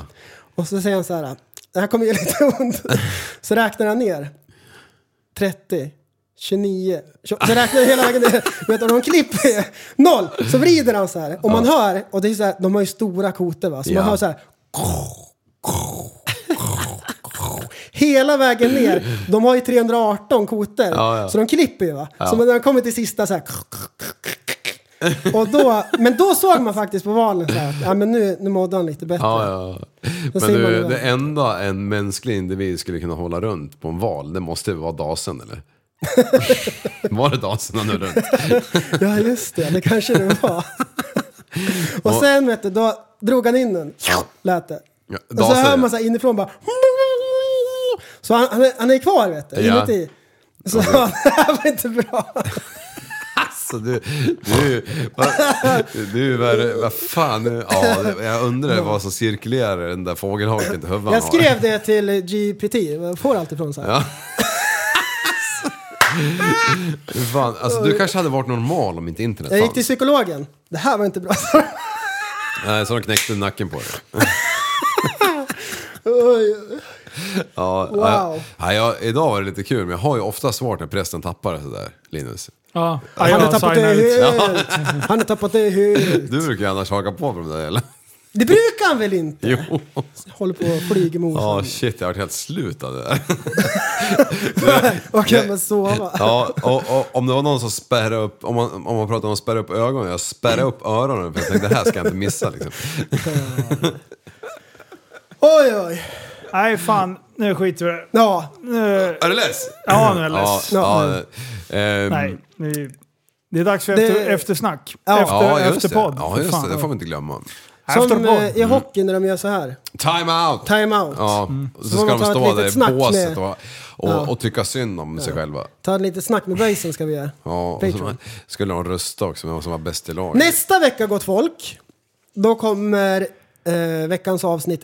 S7: Och så säger han så här, det här kommer göra lite [laughs] ont. Så räknar han ner. 30, 29, 28. Så räknar han hela vägen ner. [laughs] Vet du, de klipper noll. Så vrider han så här. Och man hör, och det är så här, de har ju stora koter va. Så man
S6: Ja.
S7: hör så här. [laughs] Hela vägen ner. De har ju 318 koter.
S6: Ja, ja.
S7: Så de klipper ju va. Så när de kommer till sista så här. Och då, men då såg man faktiskt på valen så här, att ja, men nu, nu mådde han lite bättre.
S6: Ja, ja. Men
S7: ser man det
S6: du,
S7: där.
S6: det enda en mänsklig individ skulle kunna hålla runt på en val, det måste ju vara dasen
S7: [laughs]
S6: eller? var det dasen han höll runt?
S7: [laughs] Ja, just det. Det kanske det var. Och
S6: Ja.
S7: sen vet du, då drog han in den. Lät det.
S6: Ja,
S7: Och så
S6: dasen,
S7: hör
S6: ja.
S7: man så här inifrån bara... Så han, han, är, han är kvar vet du,
S6: Ja.
S7: inuti. Så [laughs] det här var inte bra.
S6: Alltså du, du, va, du vad vad fan, ja, jag undrar vad som cirkulerar i den där fågelholken till huvudet
S7: Jag
S6: han har.
S7: skrev det till GPT, jag får allt ifrån så här.
S6: Ja. Fan, alltså, du kanske hade varit normal om inte internet
S7: Jag gick till
S6: fanns.
S7: psykologen. Det här var inte bra. [laughs]
S6: Nej, så de knäckte nacken på dig.
S7: Oj.
S6: Ja,
S7: Wow.
S6: ja, ja, jag, idag var det lite kul, men jag har ju ofta svårt när prästen tappar det sådär, Linus.
S4: Ja,
S7: Han har tappat det helt.
S6: Ja.
S7: Han har tappat det helt.
S6: Du brukar ju annars haka på på de där
S7: [laughs]
S6: eller?
S7: Det brukar han väl inte?
S6: Jo.
S7: Håller på och flyger mot
S6: Ja,
S7: honom.
S6: shit, jag har varit helt slut av det
S7: [laughs]
S6: där.
S7: Och kan man sova?
S6: Ja, och, och, om det var någon som spärrade upp, om man, om man pratar om att spärra upp ögonen, jag spärrade upp öronen för jag tänkte det här ska jag inte missa liksom.
S7: Oj, oj.
S4: Nej, fan. Nu skiter vi i det.
S7: Ja.
S4: Nu-
S6: Är du less?
S4: Ja, nu är jag less. Mm.
S6: Ja, ja, ehm,
S4: Nej, nu- det är dags för
S7: Det-
S4: efter, eftersnack.
S7: Ja.
S4: Efter,
S6: ja, just
S4: efterpodd.
S6: det. Ja, just
S4: Fan.
S6: det. Det får vi inte glömma.
S7: Som
S4: Efterpodd.
S7: eh, i hockey när de gör så här.
S6: Time out!
S7: Time out.
S6: Mm.
S7: Mm.
S6: Ja, och så
S7: får
S6: ska
S7: man
S6: de
S7: ta ett
S6: stå
S7: litet
S6: där i
S7: snack
S6: båset
S7: med-
S6: och,
S7: Ja.
S6: och, och tycka synd om sig själva.
S7: Ta lite snack med böjsen ska vi göra.
S6: Ja, och så
S7: Patreon.
S6: skulle de rösta också, vem som var bäst i laget.
S7: Nästa vecka, gott folk, då kommer eh, veckans avsnitt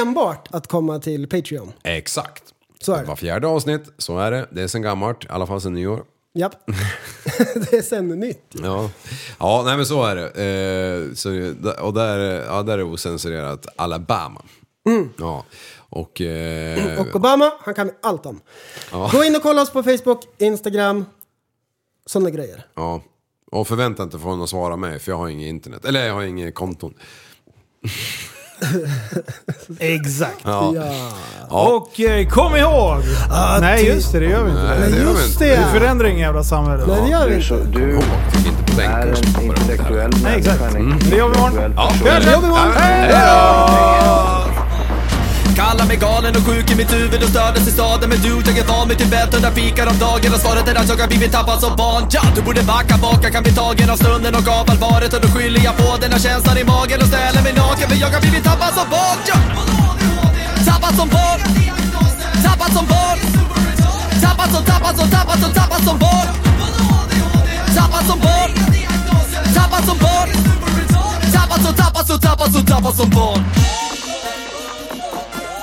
S7: enbart att komma till Patreon.
S6: Exakt.
S7: Så är
S6: Det
S7: det.
S6: var fjärde avsnitt, så är det. Det är sen gammalt, i alla fall sen nyår.
S7: Japp. [laughs] det är sen nytt.
S6: Ja, ja nej men så är det. Eh, så, och där, ja, där är osensurerat Alabama. Ja, och... Eh,
S7: Och Obama, han kan allt om.
S6: Ja.
S7: Gå in och kolla oss på Facebook, Instagram, sådana grejer.
S6: ja. Och förvänta inte få någon att svara mig, för jag har inget internet. Eller jag har inget konton.
S7: eh,
S4: Exakt.
S6: Ja. Ja.
S4: Och eh, kom ihåg! Nej, just det. Det gör vi inte.
S6: Nej, det gör vi
S7: Just
S6: inte.
S7: det!
S4: Vi förändrar inget jävla samhälle.
S7: Nej, det gör vi
S1: Du, är
S7: inte.
S1: så, du
S6: Tycker inte på
S1: är
S6: tänkare.
S1: en intellektuell människa.
S4: exakt. Mm.
S1: en
S4: Det gör vi imorgon.
S1: intellektuell
S6: Ja,
S1: person.
S6: vi hörs imorgon. Hej då!
S2: Kallar mig galen och sjuk i mitt huvud och stördes i staden Men du, jag är van vid Tibet och där fikar om dagen Och svaret är att jag har blivit tappad som barn ja, Du borde backa bak, jag kan bli tagen av stunden och av allvaret Och då skyller jag på den här känslan i magen och ställer mig naken För jag har blivit tappad som barn ja. Tappad som barn Tappad som barn Tappad som, tappad som, tappad som, tappad som barn Tappad som barn Tappad som barn Tappad som, tappad som, tappad som, tappad som barn